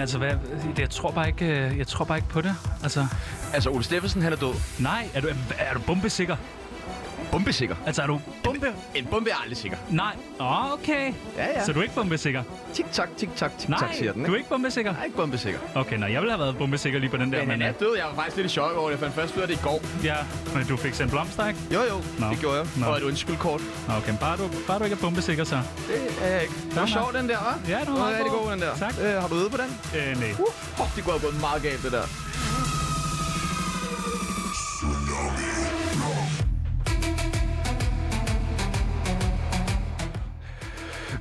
altså, hvad, det- jeg, tror bare ikke, øh, jeg tror bare ikke på det. Altså, Altså, Ole Steffensen, han er død. nej, er du, er du bombesikker? Bombesikker. Altså, er du bombe? En bombe er aldrig sikker. Nej. Åh, okay. Ja, ja. Så du er ikke bombesikker? Tik-tak, tik-tak, tik-tak, Nej, siger den, du ikke? er ikke bombesikker? Jeg er ikke bombesikker. øh, Okay, nej, jeg ville have været bombesikker lige på den der, Men han men, er død. Jeg var faktisk lidt i chok over det. Jeg fandt først ud af det i går. øh, ja, men du fik sendt blomster, ikke? Jo, jo. Nå. Det gjorde jeg. Nå. Og et undskyldkort. Nå, Okay, bare du, bare du ikke er bombesikker, så. Det er jeg ikke. Det Nå, var nå. sjov, den der, hva'? Ja, den var var meget rigtig god. god, den der. Tak. Øh, har du øvet på den? Øh, nej. Uh, oh, det kunne have gået meget galt, det der.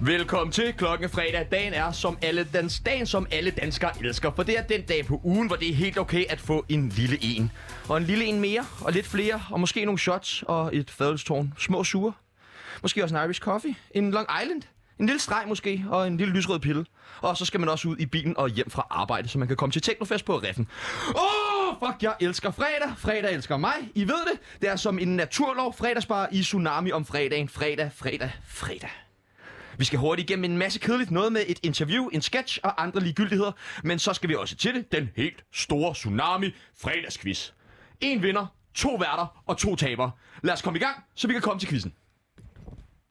Velkommen til klokken er fredag. Dagen er som alle dans dagen, som alle danskere elsker. For det er den dag på ugen, hvor det er helt okay at få en lille en. Og en lille en mere, og lidt flere, og måske nogle shots og et fadelstårn. Små sure. Måske også en Irish coffee. En Long Island. En lille streg måske, og en lille lysrød pille. Og så skal man også ud i bilen og hjem fra arbejde, så man kan komme til Teknofest på Reffen. Åh, oh, fuck, jeg elsker fredag. Fredag elsker mig. I ved det. Det er som en naturlov. Fredagsbar i Tsunami om fredagen. Fredag, fredag, fredag. Vi skal hurtigt igennem en masse kedeligt noget med et interview, en sketch og andre ligegyldigheder. Men så skal vi også til det, den helt store tsunami fredagsquiz. En vinder, to værter og to tabere. Lad os komme i gang, så vi kan komme til quizzen.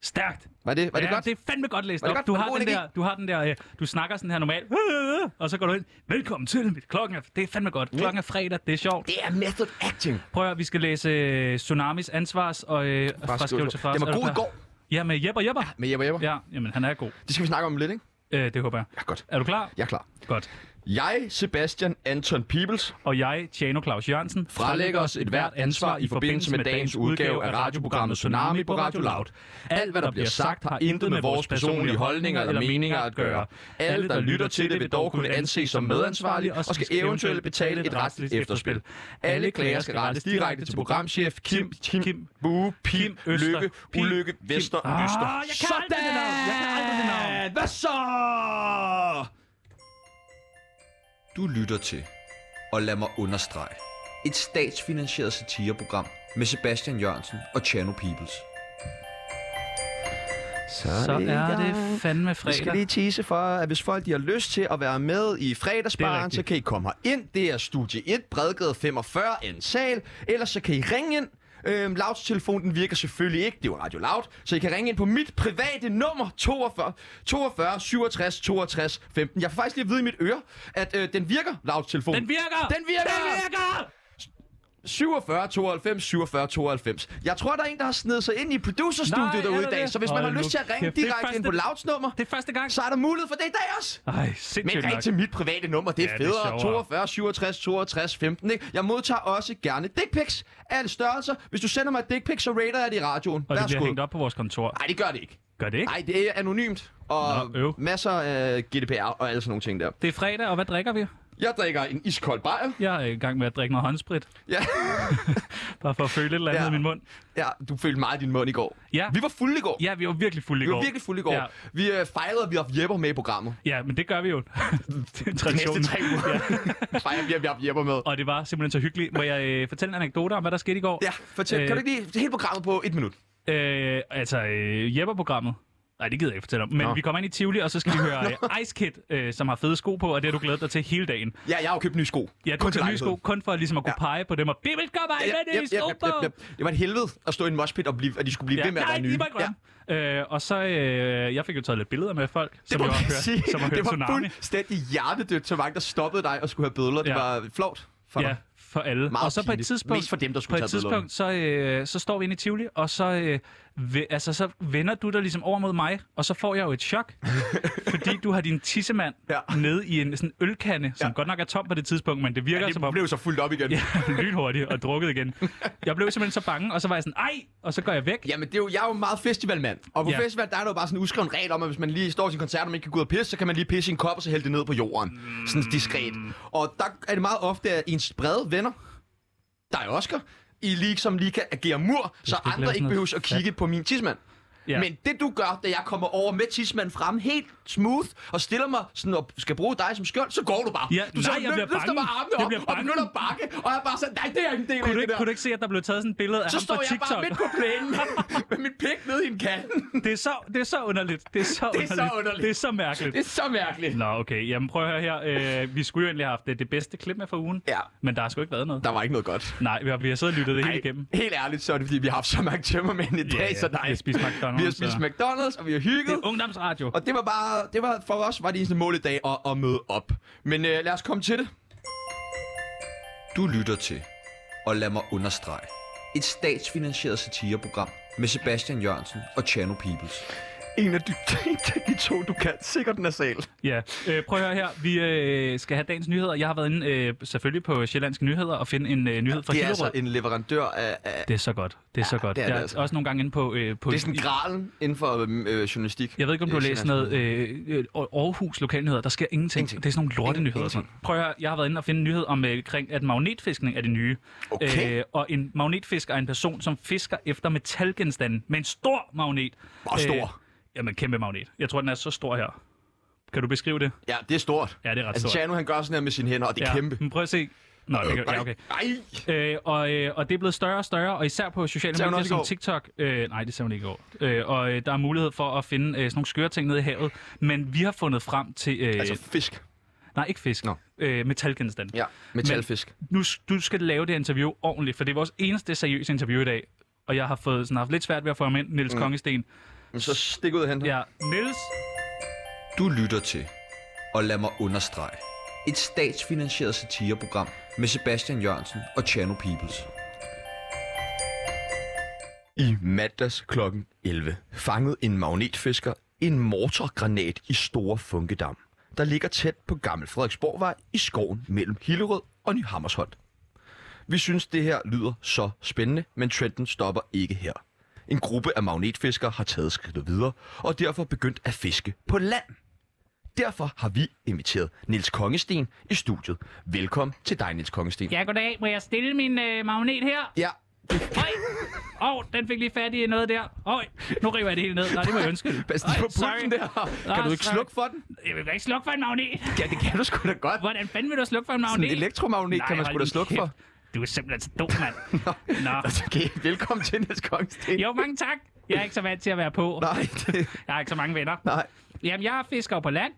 Stærkt. Var det, var det ja, godt? det er fandme godt læst Var det op. godt? Du Var det har, god den energi? der, du har den der, øh, du snakker sådan her normalt, og så går du ind. Velkommen til mit klokken. Er, det er fandme godt. Klokken er fredag, det er sjovt. Det er method acting. Prøv at høre, vi skal læse øh, Tsunamis ansvars og øh, fraskrivelse fra. Den var god i går Ja, med Jepper Jepper. med Jeppe Jeppe. Ja. Ja, jamen han er god. Det skal vi snakke om lidt, ikke? Øh, det håber jeg. Ja, godt. Er du klar? Jeg er klar. Godt. Jeg, Sebastian Anton Peebles, Og jeg, Tjano Claus Jørgensen, fralægger os et hvert ansvar i forbindelse med dagens udgave af radioprogrammet Tsunami på Radio Loud. Alt, hvad der bliver sagt, har intet med vores personlige holdninger eller meninger at gøre. Alle, der lytter til det, vil dog kunne anses som medansvarlige og skal eventuelt betale et retsligt efterspil. Alle klager skal rettes direkte til programchef Kim, Kim, Kim Bue, Pim, Kim Øster, Lykke, Pim, Ulykke, Kim- Vester, Ah, Øster. jeg kan aldrig det navn. Jeg kan aldrig det navn. Sådan! Hvad så? Du lytter til, og lad mig understrege, et statsfinansieret satireprogram med Sebastian Jørgensen og Chano Peoples. Så er det fandme Jeg skal fredag. lige tease for, at hvis folk de har lyst til at være med i Det er fredagsbaren, rigtigt. så kan I komme ind. Det er Studie 1, Bredgade 45, en sal. Ellers så kan I ringe ind. Øhm, Louds telefon den virker selvfølgelig ikke, det er jo Radio Loud, så I kan ringe ind på mit private nummer 42, 42 67 62 15. Jeg får faktisk lige at vide i mit øre, at øh, den virker, Louds telefon. Den virker! Den virker! Den virker! 47 92 47 92. Jeg tror, der er en, der har snedet sig ind i producerstudiet Nej, er derude i der dag, det? så hvis man Hold har nu lyst til at ringe kæft, det er direkte ind på første- Louds nummer, Det er første gang. så er der mulighed for det i dag også. Ej, Men sindssygt ring nok. til mit private nummer, det er Ja, ja, det er federe. sjovere. 42, 67, 62, 15, ikke? Jeg modtager også gerne dick pics af alle størrelser. Hvis du sender mig et dick pic, så rater jeg det i radioen. Og det bliver Værsgo. hængt op på vores kontor. Nej, det gør det ikke. Gør det ikke? Nej, det er anonymt. Og Nå, øv. masser af GDPR og alle sådan nogle ting der. Det er fredag, og hvad drikker vi? Jeg drikker en iskold bajer. Jeg er i gang med at drikke noget håndsprit. Ja, Bare for at føle et eller andet ja. Ja. i min mund. ja, du følte meget i din mund i går. Ja. Vi var fulde i går. Ja, vi var virkelig fulde i Vi går. var virkelig fulde i går. Ja. Ja. Vi øh, fejrede, at vi har haft Jepper med i programmet. Ja, men det gør vi jo. det er De næste traditionen. tre uger. Ja. fejrer vi, at vi har haft Jepper med. Og det var simpelthen så hyggeligt. Må jeg øh, fortælle en anekdote om, hvad der skete i går? Ja, fortæl. Øh... Kan du ikke lige hele programmet på et minut? Øh, altså, øh, Jepper-programmet. Nej, det gider jeg ikke fortælle om. Men Nå. Nå. vi kommer ind i Tivoli, og så skal vi høre øh, Ice Kid, øh, som har fede sko på, og det har du glædet dig til hele dagen. Ja, jeg har jo købt nye sko. Ja, du Kun tager nye lejligheden. sko, kun for ligesom at kunne pege på dem, og vi vil komme af med nye sko på! Det var et helvede at stå i en moshpit, og, blive, at de skulle blive ved med at nej, være nye. de var grønne. Ja. Øh, og så, øh, jeg fik jo taget lidt billeder med folk, Det som må jo har man hørt, sige. som har hørt det var Tsunami. fuldstændig hjertedødt til mange, der stoppede dig og skulle have bødler. Det Ja. var flot. For Ja, ja. for alle. Meget og så på et pinligt. tidspunkt, Mest for dem, der skulle på et tage billederne. tidspunkt så, øh, så står vi inde i Tivoli, og så, øh, ve, altså, så vender du dig ligesom over mod mig, og så får jeg jo et chok, fordi du har din tissemand ja. Ja. nede i en sådan ølkande, som ja. Ja. godt nok er tom på det tidspunkt, men det virker som Det om... blev så fuldt op igen. Ja, lynhurtigt og drukket igen. Jeg blev simpelthen så bange, og så var jeg sådan, ej, og så går jeg væk. Jamen, det er jo, jeg er jo meget festivalmand. Og på Ja. ja. festival, der er der jo bare sådan en uskreven regel om, at hvis man lige står til en koncert, og man ikke kan gå ud og pisse, så kan man lige pisse i en kop, og så hælde det ned på jorden. Mm. Sådan diskret. Og der er det meget ofte, at ens brede venner, der er Oscar, i lige, som lige kan agere mur, så ikke lave andre sådan ikke noget behøver at kigge på min tidsmand. Ja. Ja. Men det du gør, da jeg kommer over med tidsmanden frem helt smooth og stiller mig sådan og skal bruge dig som skjold, så går du bare. Ja, du nej, jeg bliver løfter bange. bare armene Jeg op bliver og bange. begynder at bakke, og jeg er bare sådan, nej, det er ikke en del af Kunne du, det ikke, der. kunne du ikke se, at der blev taget sådan et billede af så ham står fra jeg TikTok? bare midt på plænen med- med mit pik nede i en kant. Det er så, det er så underligt. Det er så, Det er så underligt. underligt. Det er så mærkeligt. Det er så mærkeligt. Nå, okay. Jamen prøv at høre her. Øh, vi skulle jo egentlig have haft det, det bedste klip med fra ugen. Ja. Men der har sgu ikke været noget. Der var ikke noget godt. Nej, vi har, vi har siddet og lyttet det hele igennem. helt ærligt, så er det fordi, vi har haft så mange tømmermænd i dag, ja. så nej. Vi har spist McDonald's, Vi har spist så- McDonald's, og vi har Det hygget. er ungdomsradio. Og det var bare, det var for os var det eneste mål i dag at, at møde op. Men øh, lad os komme til det. Du lytter til, og lad mig understrege, et statsfinansieret satireprogram med Sebastian Jørgensen og Chano Peoples. En af de, en af de to, du kan sikkert nasal. Ja, øh, prøv at høre her. Vi øh, skal have dagens nyheder. Jeg har været inde øh, selvfølgelig på Sjællandske Nyheder og finde en øh, nyhed fra Det er Hillerød. altså en leverandør af... af Det er så godt. Det er så godt. det er jeg det er altså. også nogle gange inde på... Øh, på det er sådan gralen inden for øhm, øh, journalistik. jeg ved ikke, om du har Øh, læst noget øh, øh, Aarhus lokalnyheder. Der sker ingenting. Ingenting. Det er sådan nogle lorte nyheder. Ingenting. Sådan. Prøv at høre, jeg har været inde og finde en nyhed om, øh, kring, at magnetfiskning er det nye. Øh, Okay. og en magnetfisker er en person, som fisker efter metalgenstande med en stor magnet. Øh, Hvor stor? jamen, kæmpe magnet. Jeg tror, den er så stor her. Kan du beskrive det? Ja, det er stort. øh- Ja, det er ret altså, stort. Chano, han gør sådan her med sine hænder, og det er ja. kæmpe. Men prøv at se. Nå, det kan, ja, okay. Ej, Øh, og, øh, og det er blevet større og større, og især på sociale Ser hun medier også i som går? TikTok. Øh, nej, det ser man ikke i går. Øh, og øh, der er mulighed for at finde øh, sådan nogle skøre ting nede i havet. Men vi har fundet frem til... Øh, altså fisk. nej, ikke fisk. Nå. Øh, metalgenstand. Ja, metalfisk. Nu, s- du skal lave det interview ordentligt, for det er vores eneste seriøse interview i dag. Og jeg har fået sådan, haft lidt svært ved at få ham ind, Niels mm. Kongesten. Men, så stik ud af hænderne. Ja, Niels, Du lytter til, og lad mig understrege, et statsfinansieret satireprogram med Sebastian Jørgensen og Chano Peoples. I mandags kl. 11 fangede en magnetfisker en mortargranat i Store Funkedam, der ligger tæt på Gammel Frederiksborgvej i skoven mellem Hillerød og Ny Hammersholt. Vi synes, det her lyder så spændende, men trenden stopper ikke her. En gruppe af magnetfiskere har taget skridtet videre, og derfor begyndt at fiske på land. Derfor har vi inviteret Nils Kongesten i studiet. Velkommen til dig, Nils Kongesten. ja, goddag. Må jeg stille min øh, magnet her? ja. Øj! Åh, oh, den fik lige fat i noget der. Øj, nu river jeg det hele ned. Nej, det må jeg undskylde. Pas lige Øj, på sorry. pulsen der. Kan Ah, du ikke sorry. slukke for den? Jeg vil da ikke slukke for en magnet. Ja, det kan du sgu da godt. Hvordan fanden vil du slukke for en magnet? Sådan en elektromagnet Nej, kan man sgu hold da din slukke for. kæft. Du er simpelthen så dum, mand. Nå. Altså, Okay, velkommen til Niels Kongsten. Jo, mange tak. Jeg er ikke så vant til at være på. Nej, det, Jeg har ikke så mange venner. nej, Jamen, jeg fisker jo på land.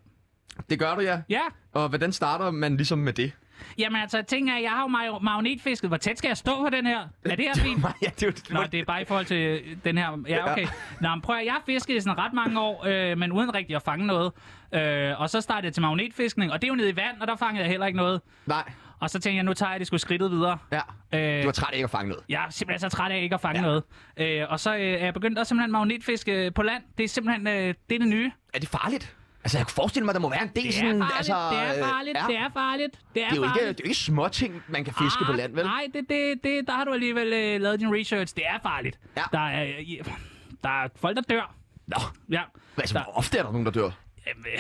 det gør du, ja. Ja. Og hvordan starter man ligesom med det? Jamen altså, ting er, jeg har jo mag- magnetfisket. Hvor tæt skal jeg stå på den her? Er det her fint? Nej, ja, det er jo det. Nå, det er bare i forhold til øh, den her... Ja, okay. Nå, men prøv at, jeg har fisket i sådan ret mange år, øh, men uden rigtig at fange noget. Øh, og så startede jeg til magnetfiskning, og det er jo nede i vand, og der fangede jeg heller ikke noget. Nej, Og så tænkte jeg, nu tager jeg det sgu skridtet videre. ja. Øh, Du var træt af ikke at fange noget. Jeg er simpelthen så træt af ikke at fange ja. noget. Øh, og så øh, er jeg begyndt også simpelthen magnetfiske på land. Det er simpelthen øh, det, er det nye. Er det farligt? Altså, jeg kan forestille mig, der må være en del Det er sådan... farligt, altså, det er øh, farligt, ja. det er farligt, det er, det er jo ikke, farligt. det er jo ikke små ting, man kan fiske på Ah, land, vel? Nej, det, det, det, der har du alligevel øh, lavet din research. Det er farligt. Ja. Der, er, øh, i- der er folk, der dør. Nå, Ja. altså, Der- hvor ofte er der nogen, der dør? Jamen, øh,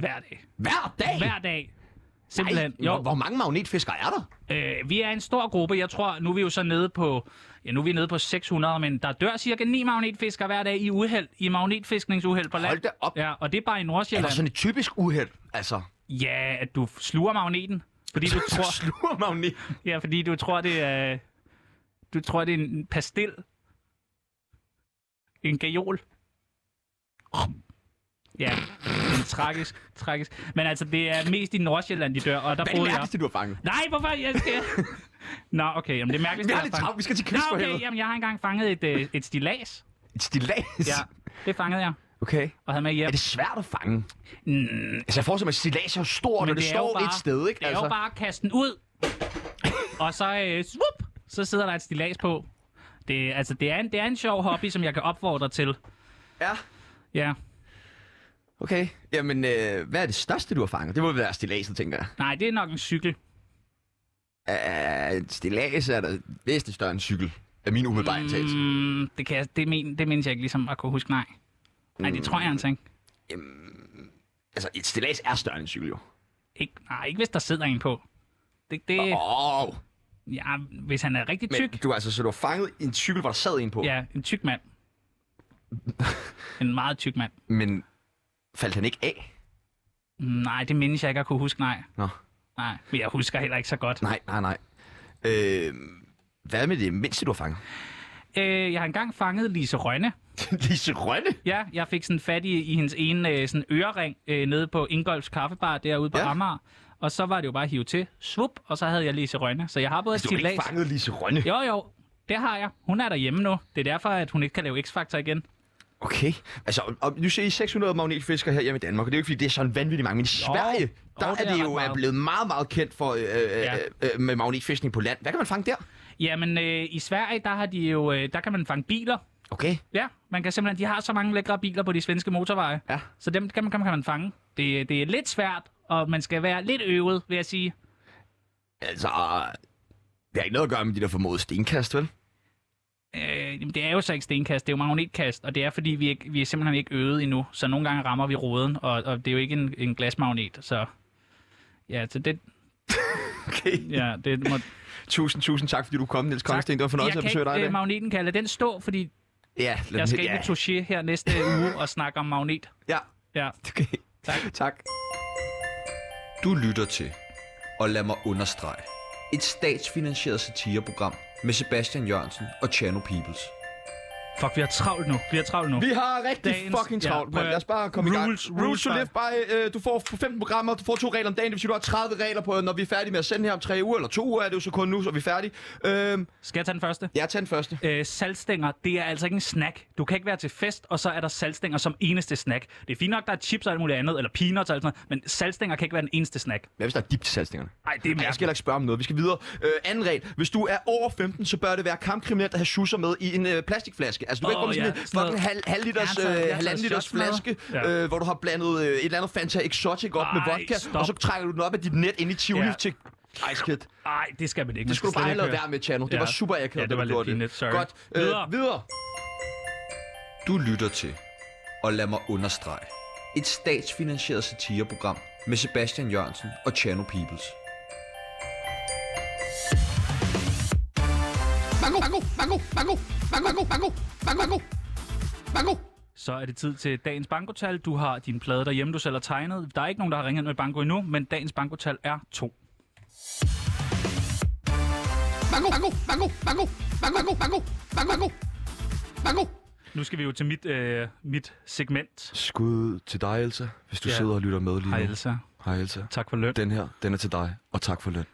hver dag. Hver dag? Hver dag. Ej, Simpelthen. hvor, jo, hvor mange magnetfiskere er der? øh, vi er en stor gruppe. Jeg tror, nu er vi jo så nede på, ja, nu er vi nede på 600, men der dør cirka 9 magnetfiskere hver dag i uheld, i magnetfiskningsuheld på land. Hold da op. Ja, og det er bare i Er Nordsjælland. der sådan et typisk uheld? Altså, Ja, at du sluger magneten, fordi du tror, sluger magnet. ja, fordi du tror det er du tror det er en pastil. En gajol. Ja, en tragisk, tragisk. Men altså det er mest i Nordsjælland de dør, og der Hvad er det boede jeg. mærkeligste, du har fanget? Nej, hvorfor jeg skal Nå, okay, jamen det er mærkeligt. Vi har lidt travlt, vi skal til Nå, quiz for okay, helvede. jamen jeg har engang fanget et, øh, et stilas. Et stilas. Ja, det fangede jeg Okay. og havde med Er hjem. det svært at fange? Mm, Altså, jeg forestiller mig, at stilas er jo stort, og det, det er jo står bare, et sted, ikke? Det er altså. jo bare at kaste den ud, og så, øh, swoop, så sidder der et stilas på. Det, altså, det, er en, det er en sjov hobby, som jeg kan opfordre til. Ja, Ja, okay. Jamen, øh, hvad er det største, du har fanget? Det må være stilaset, tænker jeg. nej, det er nok en cykel. Uh, et stilas er da væsentligt større end en cykel, er min umiddelbare antagelse. Mm. Mm, det, kan jeg, det, men, det mindes jeg ikke ligesom at kunne huske, nej. Nej, det tror jeg altså ikke. Altså, et stilas er større end en cykel, jo. ikke. Nej, ikke hvis der sidder en på. Det, det, Åh, oh, ja, hvis han er rigtig men tyk. du, altså, så du har fanget en cykel, hvor der sad en på? Ja, en tyk mand. En meget tyk mand. Men faldt han ikke af? Nej, det mindes jeg ikke at kunne huske, nej. Nå. Nej, men jeg husker heller ikke så godt. Nej, nej, nej. Øh, hvad med det mindste, du har fanget? Øh, jeg har engang fanget Lise Rønne. Lise Rønne? Ja, jeg fik sådan fat i, i hendes ene øh, sådan ørering øh, nede på Ingolfs Kaffebar derude på Ja. ja. Amager. Og så var det jo bare at hive til. Svup, og så havde jeg Lise Rønne. Så jeg har både et Du har stilas. ikke fanget Lise Rønne? Jo, jo, det har jeg. Hun er derhjemme nu. Det er derfor, at hun ikke kan lave X-Factor igen. Okay. Altså, og nu ser I 600 magnetfiskere her hjemme i Danmark, og det er jo ikke, fordi det er sådan vanvittigt mange. Men i Sverige, der Jo, er det er det ret jo er meget. blevet meget, meget kendt for øh, ja. Ja. øh, med magnetfiskning på land. Hvad kan man fange der? Jamen, øh, i Sverige, der, har de jo, øh, der kan man fange biler. Okay. Ja, man kan simpelthen, de har så mange lækre biler på de svenske motorveje. Ja. Så dem kan man, kan man fange. Det, det er lidt svært, og man skal være lidt øvet, vil jeg sige. Altså, det har ikke noget at gøre med de der formodede stenkast, vel? Øh, jamen, det er jo så ikke stenkast, det er jo magnetkast, og det er fordi, vi, ikke, vi er simpelthen ikke øvet endnu, så nogle gange rammer vi roden, og, og det er jo ikke en, en glasmagnet, så... Ja, så det, Okay. ja, det må... Tusind, tusind tak, fordi du kom, Niels Kongsten. Det var en fornøjelse at jeg kan besøge dig. ikke, i øh, dag. magneten kan jeg lade den stå, fordi Ja, lad jeg den- skal ja. ikke med touché her næste uge og snakke om magnet. Ja, Ja. okay. Tak. tak. Du lytter til, og lad mig understrege, et statsfinansieret satireprogram med Sebastian Jørgensen og Chano Peoples. Fuck, vi har travlt nu. Vi har travlt nu. Vi har rigtig Dagens- fucking ja, travlt, ja, prøv mand. at- Lad os bare komme i gang. Rules, rules rules, to bare. live by. Øh, du får 15 programmer, du får to regler om dagen. Det betyder, du har 30 regler på, når vi er færdige med at sende her om tre uger, eller to uger er det jo så kun nu, så er vi færdige. Øh, Skal jeg tage den første? jeg tager den første. Øh, saltstænger, det er altså ikke en snack. Du kan ikke være til fest, og så er der saltstænger som eneste snack. Det er fint nok, der er chips og alt muligt andet, eller peanuts og alt sådan noget, men saltstænger kan ikke være den eneste snack. Hvad hvis der er dip til salgsningerne? Nej, det er Jeg skal mærkeligt. heller ikke spørge om noget. Vi skal videre. Øh, anden regel. Hvis du er over 15, så bør det være kampkriminelt at have schusser med i en øh, plastikflaske. Altså, du kan Åh, ikke komme ja, sådan med sådan en noget. halv, halv liters, Jeg har taget- jeg øh, har halvanden taget liters shots med. flaske, Ja. øh, hvor du har blandet øh, et eller andet Fanta Exotic op med Ej, vodka, stop. og så trækker du den op af dit net ind i Tivoli Ja. til... Ej, skidt. Nej, det skal man ikke. Man Det skulle du skal slet bare ikke hellere høre. være med, Chano. Det Ja. var super akavet, Ja, det da du var lidt gjorde pinligt, sorry. Godt. Øh, videre. Videre. videre. Du lytter til, og lad mig understrege, et statsfinansieret satireprogram med Sebastian Jørgensen og Chano Peoples. Mango, mango, mango, mango, mango, mango, mango, mango, mango. Så er det tid til dagens bankotal. Du har din plade derhjemme, du selv har tegnet. Der er ikke nogen, der har ringet med banko endnu, men dagens bankotal er 2. Mango, mango, mango, mango, mango, mango, mango, mango, mango. Nu skal vi jo til mit, øh, mit segment. Skud til dig, Elsa, hvis du Ja. sidder og lytter med lige nu. Hej Elsa. Hej, Elsa. Tak for løn. Den her, den er til dig, og tak for løn.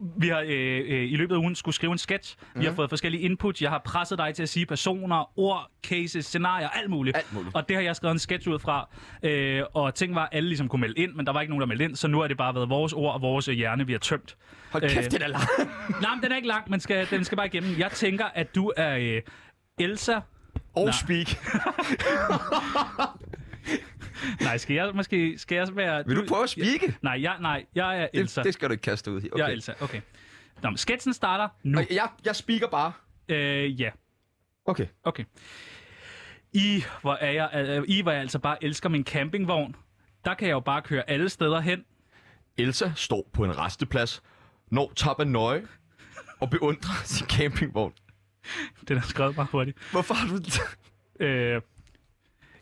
Vi har øh, øh, i løbet af ugen skulle skrive en sketch. Vi Mhm. har fået forskellige input. Jeg har presset dig til at sige personer, ord, cases, scenarier, alt muligt. Alt muligt. Og det har jeg skrevet en sketch ud fra. Øh, og ting var, at alle ligesom kunne melde ind, men der var ikke nogen, der meldte ind. Så nu har det bare været vores ord og vores øh, hjerne, vi har tømt. Hold kæft, øh, den er lang. Nej, men den er ikke lang, men skal, den skal bare igennem. Jeg tænker, at du er øh, Elsa. Og nej. speak. Nej, skal jeg måske skal jeg være... Vil du prøve at speake? Nej, jeg, nej, jeg er Elsa. Det, det skal du ikke kaste ud i. Jeg er Elsa, okay. Nå, men sketchen starter nu. Og Jeg, jeg speaker bare. Øh, ja. Okay. Okay. I hvor, er jeg, øh, I, hvor jeg altså bare elsker min campingvogn, der kan jeg jo bare køre alle steder hen. Elsa står på en resteplads, når tapper nøje og beundrer sin campingvogn. Den er skrevet bare hurtigt. Hvorfor har du... Øh,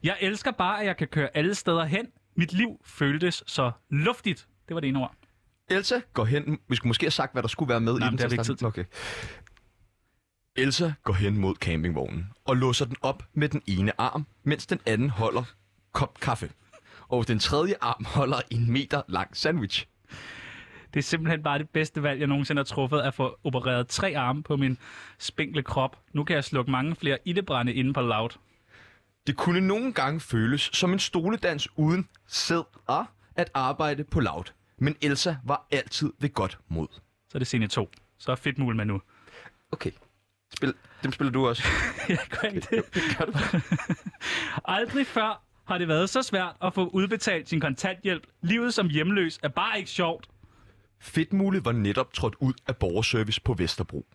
jeg elsker bare, at jeg kan køre alle steder hen. Mit liv føltes så luftigt. Det var det ene ord. Elsa går hen... Vi skulle måske have sagt, hvad der skulle være med i men den. det har vi ikke til at starte med. Okay. Elsa går hen mod campingvognen og låser den op med den ene arm, mens den anden holder kop kaffe. Og den tredje arm holder en meter lang sandwich. Det er simpelthen bare det bedste valg, jeg nogensinde har truffet, at få opereret tre arme på min spinkle krop. Nu kan jeg slukke mange flere ildebrænde inde på loud. Det kunne nogle gange føles som en stoledans uden sædder at arbejde på laut. Men Elsa var altid ved godt mod. Så er det scene 2. Så er fedt mul med nu. Okay. Spil, dem spiller du også. Jeg gør ikke det. Gør du bare. Aldrig før har det været så svært at få udbetalt sin kontanthjælp. Livet som hjemløs er bare ikke sjovt. Fedtmule var netop trådt ud af borgerservice på Vesterbro.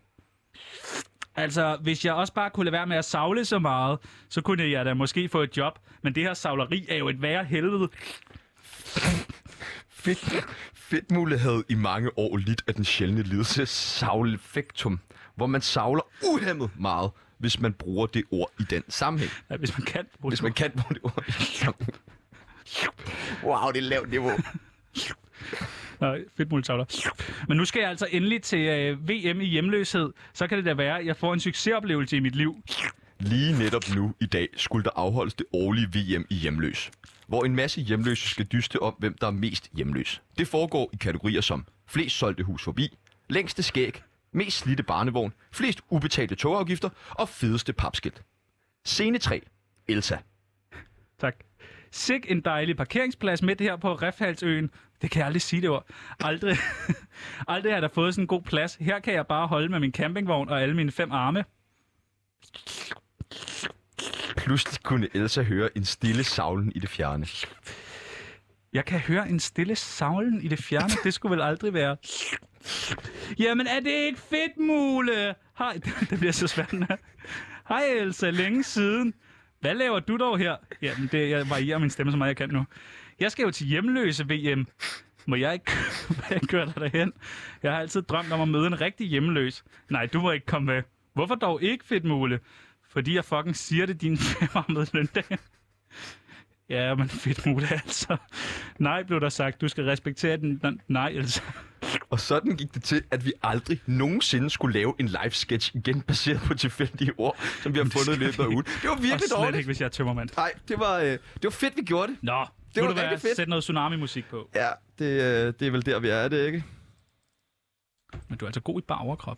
Altså, hvis jeg også bare kunne lade være med at savle så meget, så kunne jeg da måske få et job. Men det her savleri er jo et værre helvede. Fedt, fedtmule havde i mange år lidt af den sjældne lidelse savlefektum, hvor man savler uhemmet meget, hvis man bruger det ord i den sammenhæng. Ja, hvis man kan bruge Hvis man kan bruge det ord i den sammenhæng. Wow, det er lavt niveau. Nå, fedt muligtavler. Men nu skal jeg altså endelig til øh, VM i hjemløshed. Så kan det da være, at jeg får en succesoplevelse i mit liv. Lige netop nu i dag skulle der afholdes det årlige VM i hjemløs, hvor en masse hjemløse skal dyste om, hvem der er mest hjemløs. Det foregår i kategorier som flest solgte hus forbi, længste skæg, mest slidte barnevogn, flest ubetalte togafgifter og fedeste papskilt. Scene 3. Elsa. Tak. Sik en dejlig parkeringsplads midt her på Refhalsøen. Det kan jeg aldrig sige det ord. Aldrig, aldrig har jeg da fået sådan en god plads. Her kan jeg bare holde med min campingvogn og alle mine fem arme. Pludselig kunne Elsa høre en stille savlen i det fjerne. Jeg kan høre en stille savlen i det fjerne. Det skulle vel aldrig være. Jamen, er det ikke fedt, Mule? Hej, det bliver så spændende. Hej, Elsa, længe siden. Hvad laver du dog her? Jamen, det, jeg varierer min stemme så meget, jeg kan nu. Jeg skal jo til hjemløse VM. Må jeg ikke må jeg ikke køre dig derhen? Jeg har altid drømt om at møde en rigtig hjemløs. Nej, du må ikke komme med. Hvorfor dog ikke, fedt, Mule? Fordi jeg fucking siger det, din femarmede løndag. Ja, men fedt muligt, altså. Nej, blev der sagt. Du skal respektere den. Nej, altså. Og sådan gik det til, at vi aldrig nogensinde skulle lave en live sketch igen, baseret på tilfældige ord, som vi har fundet i løbet af ugen. Det var Og virkelig slet dårligt. ikke, hvis jeg er tømmermand. Nej, det var, øh, det var fedt, vi gjorde det. Nå, Det det var var være, rigtig fedt. Sæt noget tsunami-musik på. Ja, det, øh, det er vel der, vi er, er det ikke? Men du er altså god i bare overkrop.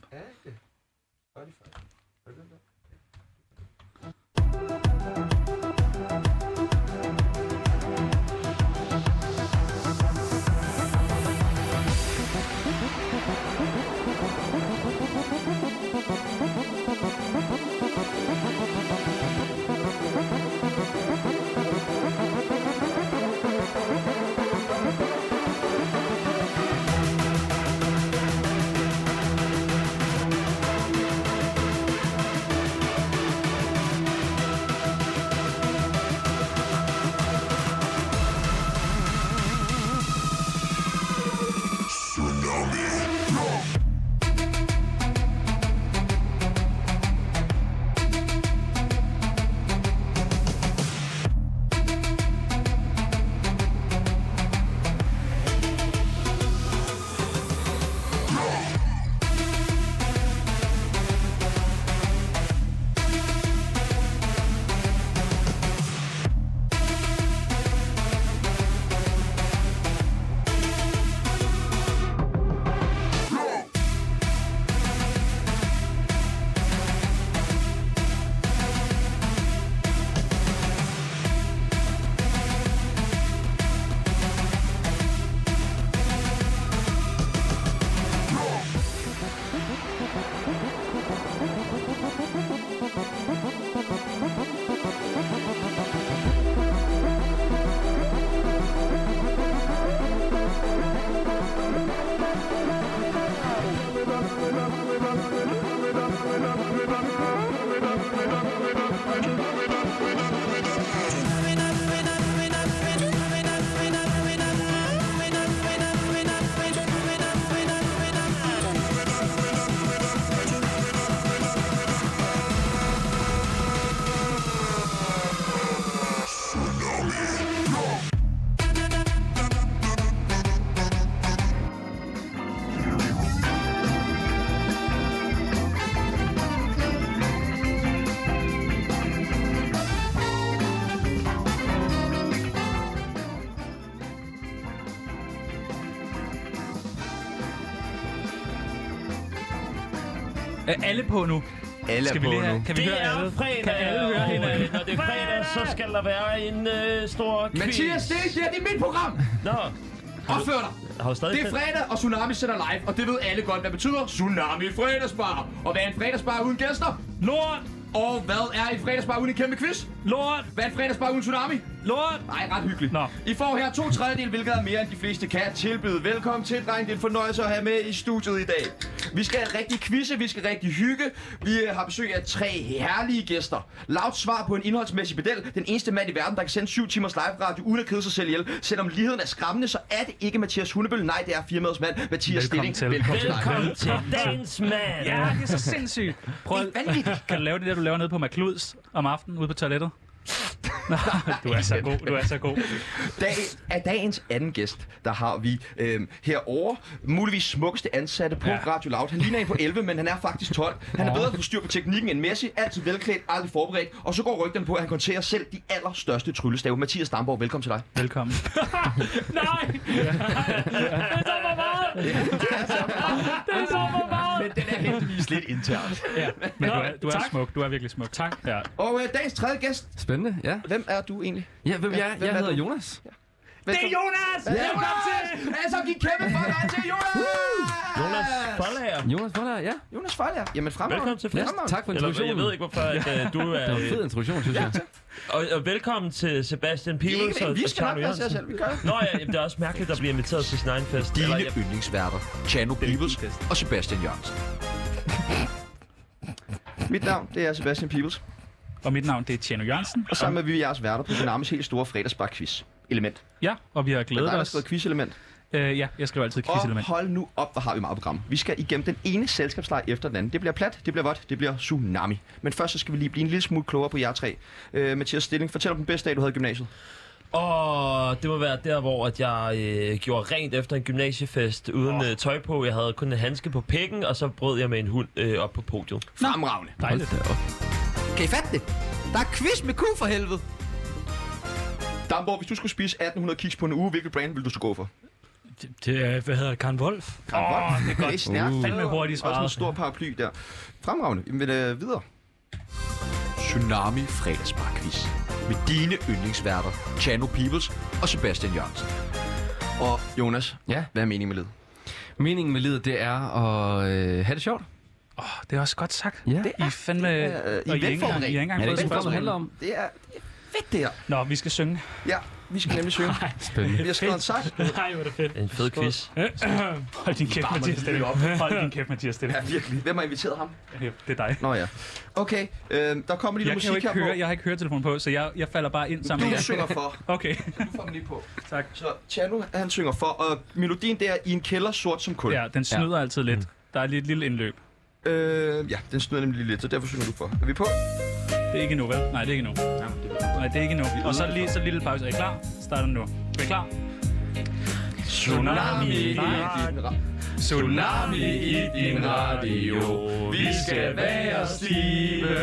Er alle på nu? Alle Skal vi lige have, kan vi høre Det er alle? fredag, Kan alle høre og, hinanden? øh, når det er fredag, så skal der være en øh, stor quiz. Mathias, det er det her, det er mit program. Nå, Opfør dig. har du stadig Det er fedt? fredag, og Tsunami sender live, og det ved alle godt, hvad betyder Tsunami fredagsbar. Og hvad er en fredagsbar uden gæster? Lort! Og hvad er en fredagsbar uden en kæmpe quiz? Lort! Hvad er en fredagsbar uden Tsunami? Lort! Nej, ret hyggeligt. Nå. I får her to tredjedel, hvilket er mere end de fleste kan tilbyde. Velkommen til, dreng. Det er en fornøjelse at have med i studiet i dag. Vi skal rigtig quizze, vi skal rigtig hygge. Vi øh, har besøg af tre herlige gæster. Lavt svar på en indholdsmæssig bedel. Den eneste mand i verden, der kan sende 7 timers live radio uden at kede sig selv ihjel. Selvom ligheden er skræmmende, så er det ikke Mathias Hundebøl. Nej, det er firmaets mand, Mathias Velkommen Stilling. til. Velkommen til dig. Velkommen til dagens mand. Ja, det er så sindssygt. Prøv Det er vanvittigt. Kan du lave det der, du laver nede på McLuds om aftenen ude på toilettet? Nå, du er så god, du er så god. Dag, af dagens anden gæst, der har vi øh, herover muligvis smukkeste ansatte på ja. Ja. Radio Loud. Han ligner en på 11, men han er faktisk 12. Han er bedre på styr på teknikken end Messi, altid velklædt, aldrig forberedt, og så går rygterne på, at han konterer selv de allerstørste tryllestave. Mathias Damborg, velkommen til dig. Velkommen. Nej! Den så for meget! Den så for meget! Den er heldigvis lidt intern. Ja, men du er, Nå, du er tak. smuk, du er virkelig smuk. Tak. Ja. Og øh, dagens tredje gæst, Spændende, ja. hvem er du egentlig? Ja, hvem, jeg, hvem jeg er hedder du? Jonas. Det er Jonas! Velkommen til! Altså, giv kæmpe for dig til Jonas! Jonas Follager. Jonas Boller, ja. Jonas Fejler. Jamen, fremragende. Velkommen til ja. festen. Tak for Eller, introduktionen. jeg ved ikke, hvorfor at, øh, du er... Det var en fed introduktion, synes jeg. Og, og velkommen til Sebastian Vi, Pibels og, ikke, vi og skal nok Charlie være os Jørgensen. selv, vi gør det. Nå ja, jamen, det er også mærkeligt at blive inviteret til sin egen fest. Eller, Dine jeg, yndlingsværter, Chano Bibels og Sebastian Jørgensen. Mit navn, det er Sebastian Pibels. Og mit navn, det er Tjerno Jørgensen. Og sammen er vi jeres værter på Dynamis helt store fredagsbar-quiz. Element. Ja, og vi har Det er dig, glædet der har os. skrevet quiz-element. Øh, ja, jeg skriver altid Og quizelement. hold nu op, hvor har vi meget program. Vi skal igennem den ene selskabsleje efter den anden. Det bliver plat, det bliver vådt, det bliver tsunami. Men først så skal vi lige blive en lille smule klogere på jer tre. Øh, Mathias Stilling, fortæl om den bedste dag, du havde i gymnasiet. og det må være der, hvor at jeg øh, gjorde rent efter en gymnasiefest uden øh, tøj på. Jeg havde kun en handske på pikken, og så brød jeg med en hund øh, op på podiet. Fremragende. Dejligt. Kan I fatte det? Der er quiz med ku for helvede. Damborg, hvis du skulle spise 1800 kiks på en uge, hvilket brand ville du så gå for? Det, det er, hvad hedder det, Karen Wolf? Åh, oh, det er godt. Det er uh. Fandme hurtigt Også en svaret. stor paraply der. Fremragende. Jamen, men, øh, videre. Tsunami fredagsbarquiz. Med dine yndlingsværter, Chano Peoples og Sebastian Jørgensen. Og Jonas, Ja. hvad er meningen med livet? Meningen med livet, det er at øh, have det sjovt. Åh, det er også godt sagt. Ja. I er fandme... er- I er og I ikke engang- I er ikke engang Ja, det er fået ikke spørgsmål. det handler om. Det er, det er fedt, det her. Nå, vi skal synge. Ja, vi skal nemlig synge. Spændende. Vi har skrevet en sang. Nej, hvor er det fedt. En fed quiz. Hold din kæft, Mathias Stilling. Hold din kæft, Mathias Stilling. Ja, virkelig. Hvem har inviteret ham? Ja, Det er dig. Nå ja. Okay, øh, der kommer lige Jeg noget kan jo musik ikke her høre, på. jeg har ikke høretelefonen på, så jeg, jeg falder bare ind sammen med Du jer. synger for. Okay, Du får den lige på. tak. Så Chano, han synger for, og melodien der i en kælder sort som kul. Ja, den snyder altid lidt. Der er lige et lille indløb. Øh, ja, den snyder nemlig lige lidt, så derfor synger du for. Er vi på? Det er ikke endnu, vel? Nej, det er ikke endnu. Nej, det er ikke endnu. Og så lige så lille pause. Er I klar? Starter nu. Er I klar? Tsunami i din ra- Tsunami i din radio. Vi skal være stive.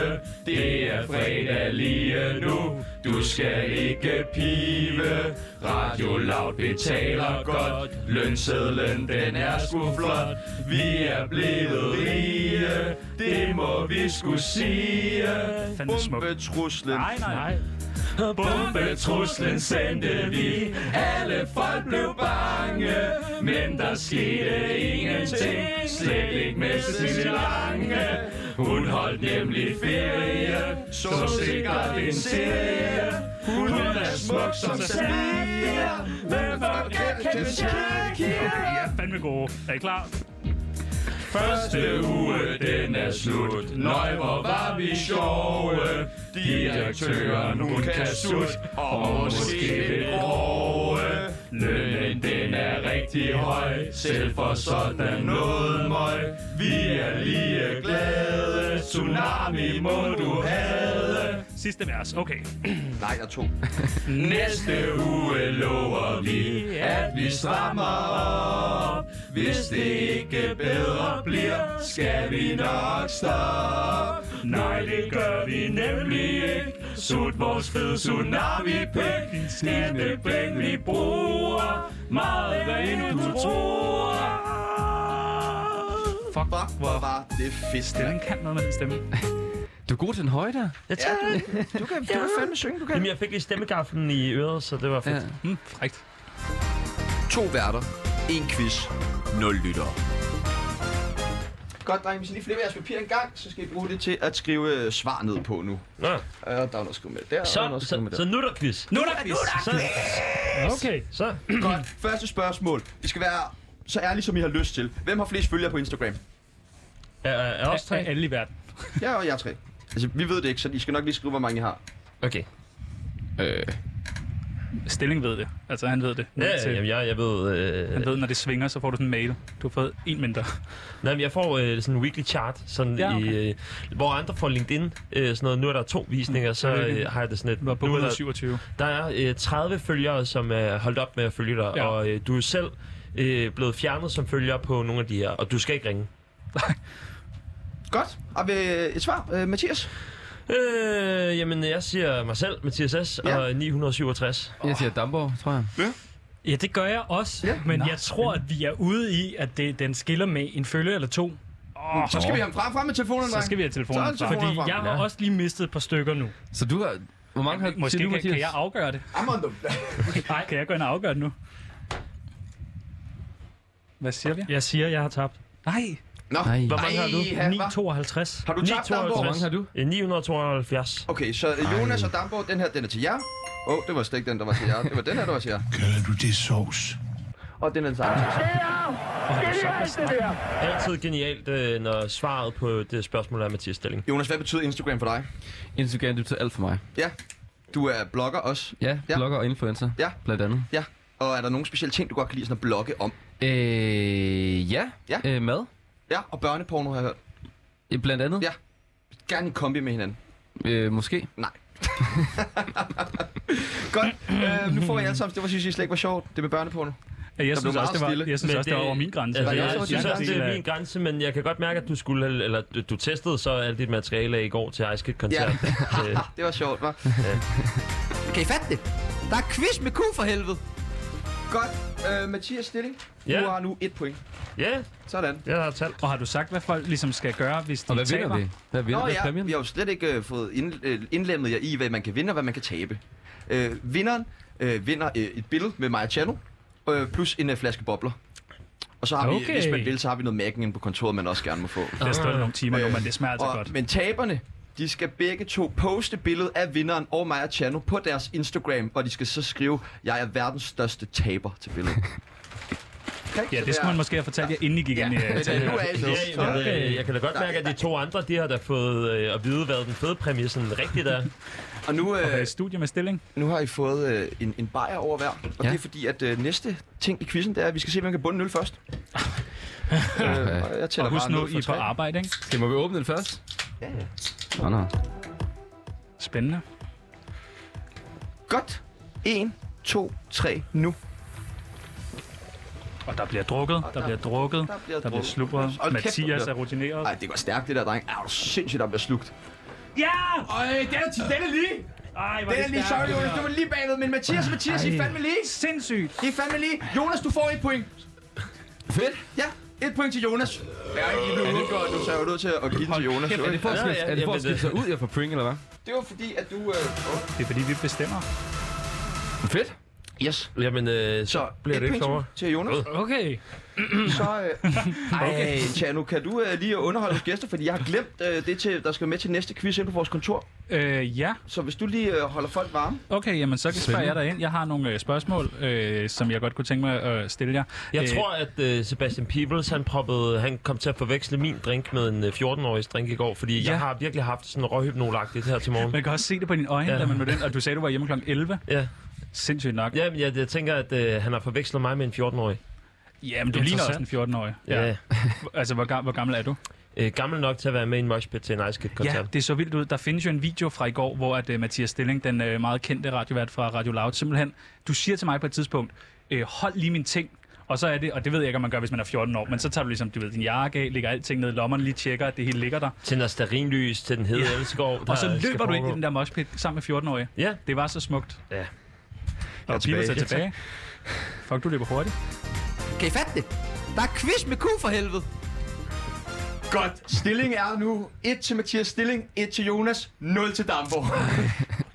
Det er fredag lige nu. Du skal ikke pive. Radio Loud betaler godt. Lønsedlen den er sgu flot. Vi er blevet rige. Det må vi sgu sige. Fanden smuk. Bombetruslen. Nej, nej, nej. Bombetruslen sendte vi. Alle folk blev bange. Men der skete ingenting. Slet ikke med Cecilie Lange. Hun holdt nemlig ferie. Så sikkert en serie. Hun er smuk som sapphire. Hvem forkert kan Shakira? Fandme gode. Er I klar? Første uge, den er slut. Nøj, hvor var vi sjove. Direktøren, hun kan sut. Og måske lidt grove. Lønnen, den er rigtig høj. Selv for sådan noget møg. Vi er lige glade. Tsunami må du have. Sidste vers. Okay. Nej, jeg to. Næste uge lover vi, at vi strammer op. Hvis det ikke bedre bliver, skal vi nok stoppe. Nej, det gør vi nemlig ikke. Sut vores fede tsunami-pæk. Skattepenge vi bruger. Meget hvad end du tror. Fuck, hvor var det fedt. Den kan noget med den stemme. Du er god til den høje der. Jeg, Ja, du- du kan, du kan fandme synge, du kan. Jamen, jeg fik lige stemmegaflen i øret, så det var fedt. Ja. Ja. Mm, frækt. To værter, en quiz, nul lyttere. Godt, drenge, hvis I lige flipper jeres papir en gang, så skal I bruge det til at skrive øh, svar ned på nu. Nå. Øh, der er noget at skrive med der, Så, og der er noget at så, skrive med der. så nu er der quiz. Nu er der quiz. Så, Okay. så. Godt, første spørgsmål. I skal være så ærlige, som I har lyst til. Hvem har flest følgere på Instagram? Er, er også Af tre? alle i verden. Ja, og jeg er tre. Altså, vi ved det ikke, så I skal nok lige skrive, hvor mange I har. Okay. Øh, Stilling ved det. Altså, han ved det. Ja, Ned til- jamen, jeg, jeg ved... Øh, Han ved, når det svinger, så får du sådan en mail. Du har fået en mindre. Nej, men jeg får øh, sådan en weekly chart, sådan Ja, ja, okay. okay. i, øh, hvor andre får LinkedIn, øh, sådan noget, nu er der to Mm. visninger, så Tillykke. øh, har jeg det sådan et, Du var på nu er der, 127. der er øh, 30 følgere, som er holdt op med at følge dig, Ja. ja. og øh, du er selv øh, blevet fjernet som følger på nogle af de her, og du skal ikke ringe. Godt. Og ved et svar, øh, Mathias. Øh, jamen, jeg siger mig selv, Mathias S. Ja. Ja. og 967. jeg siger Damborg, tror jeg. Ja, det gør jeg også, Ja. ja. men jeg tror, at vi er ude i, at det, den skiller med en følge eller to. Oh, så skal vi have ham frem, frem med telefonen, Så skal vi have Så er telefonen det fra. telefon. Fordi Hvorfor? jeg har Ja. også lige mistet et par stykker nu. Så du har... Hvor mange har Måske siger du, kan, kan jeg Mathias? afgøre det. I'm on the... Nej. Kan jeg gå ind og afgøre det nu? Hvad siger vi? Jeg siger, at jeg har tabt. Nej. Nå, Nej. hvor mange har du? 9,52. Har du tabt, Hvor Damborg? mange har du? Øh, 972. Okay, så øh, Jonas og Damborg, den her, den er til jer. Åh, oh, det var slet ikke den, der var til jer. Det var den her, der var til jer. Kalder du det sovs? Og den er den samme. til- Altid genialt, øh, når svaret på det spørgsmål er Mathias Stilling. Jonas, hvad betyder Instagram for dig? Instagram, det betyder alt for mig. Ja, du er blogger også. Ja, Ja. blogger og influencer, Ja. blandt andet. Ja. Og er der nogle specielle ting, du godt kan lide sådan at blogge om? Øh, ja. Ja. Øh, mad, Ja, og børneporno har jeg hørt. øh, blandt andet. Ja. Gerne i kombi med hinanden. Øh, måske. Godt. øh, nu får I alle sammen. Det var, synes I slet ikke var sjovt. Det med børneporno. Jeg synes meget også, det var, stille. jeg synes Men også, det var det- over min grænse. Altså, det jeg, også jeg over synes din også, grænse? det er min grænse, men jeg kan godt mærke, at du skulle, eller du, du testede så alt dit materiale af i går til Ice Kid koncert. Øh, Ja. Det var sjovt, hva'? kan I fatte det? Der er quiz med Q for helvede. Godt. Øh, Mathias Stilling, Ja. du har nu et point. ja, Sådan. jeg har talt. Og har du sagt, hvad folk ligesom skal gøre, hvis de Og hvad taber? vinder vi? Hvad vinder Nå vi ja, præmien? vi har jo slet ikke øh, fået ind, øh, indlemmet jer i, hvad man kan vinde og hvad man kan tabe. Øh, vinderen øh, vinder øh, et billede med Maja Chano, øh, plus en øh, flaske bobler. Og så har okay. vi, Okay. hvis man vil, så har vi noget mærken inde på kontoret, man også gerne må få. Der er stadig nogle timer nu, men det smager altså Øh, Og, godt. men taberne, de skal begge to poste billedet af vinderen og Maja Chano på deres Instagram, og de skal så skrive, jeg er verdens største taber til billedet. Okay, Ja, det skulle man måske have fortalt jer, inden I gik ind i øh, Ja, til- nu er I Ja, med. jeg, øh, jeg, jeg kan da godt mærke, at de to andre, de har da fået øh, at vide, hvad den fede præmie sådan rigtigt er. Og nu, øh, øh, studie med stilling. Nu har I fået øh, en, en bajer over hver, og ja. Ja. det er fordi, at øh, næste ting i quizzen, det er, at vi skal se, hvem der kan bunde en øl først. øh, og jeg tæller Og husk bare nu, ned I fra er på tre. arbejde, ikke? Skal må vi åbne den først? Ja, ja. Nå, nå. Spændende. Godt. 1, 2, 3, nu. Og der bliver drukket, der bliver drukket, der der bliver bliver drukket. slubret. Hold kæft, der Mathias bliver- er rutineret. Ej, det går stærkt, det der, dreng. Er du sindssygt, der bliver slugt. Ja! Øj, den er, til- den er lige. Ej, hvor Den er lige, sorry, stærkt. Jonas. Du var lige bagved, men Mathias, Mathias, I er fandme lige. Sindssygt. I er fandme lige. Jonas, du får et point. Fedt. Ja, et point til Jonas. Ja, I blev udgjort nu, så jeg er jo nødt til at give den til Jonas. jo, Er det ikke? for at Ja, skille, ja, er det for at jamen, skille det- sig ud, jeg får pring, eller hvad? Det var fordi, at du... Øh... Det er fordi, vi bestemmer. Fedt. Yes. Jamen, øh, så, Så så bliver et det ikke point klogere. til- til Jonas. Okay. Så, øh, okay. Tjano, kan du øh, lige underholde vores gæster, fordi jeg har glemt øh, det, til, der skal med til næste quiz ind på vores kontor. Øh, ja, Så hvis du lige øh, holder folk varme. okay, jamen så spørger jeg dig ind. Jeg har nogle øh, spørgsmål, øh, som jeg godt kunne tænke mig at øh, stille jer. Jeg Øh, tror, at øh, Sebastian Peebles, han, proppede, han kom til at forveksle min drink med en øh, 14-årig drink i går, fordi ja. Ja. jeg har virkelig haft sådan røghypnolagtigt her til morgen. Man kan også se det på dine øjne, ja. Ja. da man mødte ind, og du sagde, du var hjemme kl. 11. Ja. Sindssygt nok. Jamen, jeg, jeg tænker, at øh, han har forvekslet mig med en 14-årig. Jamen, du ligner også en Interessant. 14-årig. Ja. ja. Altså, hvor, ga- hvor gammel er du? Øh, gammel nok til at være med i en moshpit til en Ice Kid-koncert. Ja, det så vildt ud. Der findes jo en video fra i går, hvor at, uh, Mathias Stilling, den uh, meget kendte radiovært fra Radio Loud, simpelthen, du siger til mig på et tidspunkt, øh, hold lige mine ting, og så er det, og det ved jeg ikke, om man gør, hvis man er 14 år, men så tager du ligesom, du ved, din jakke af, lægger alting ned i lommerne, lige tjekker, at det hele ligger der, Til Nastarinlys, til den hede ja. elskov. og så løber du ind i den der moshpit sammen med 14-årige. Ja, Det var så smukt. Ja. Og tilbage. Bibels er tilbage. Fuck, du løber hurtigt. Kan I fatte det? Der er quiz med Q for helvede. Godt. Stilling er nu 1 til Mathias Stilling, 1 til Jonas, 0 til Damborg.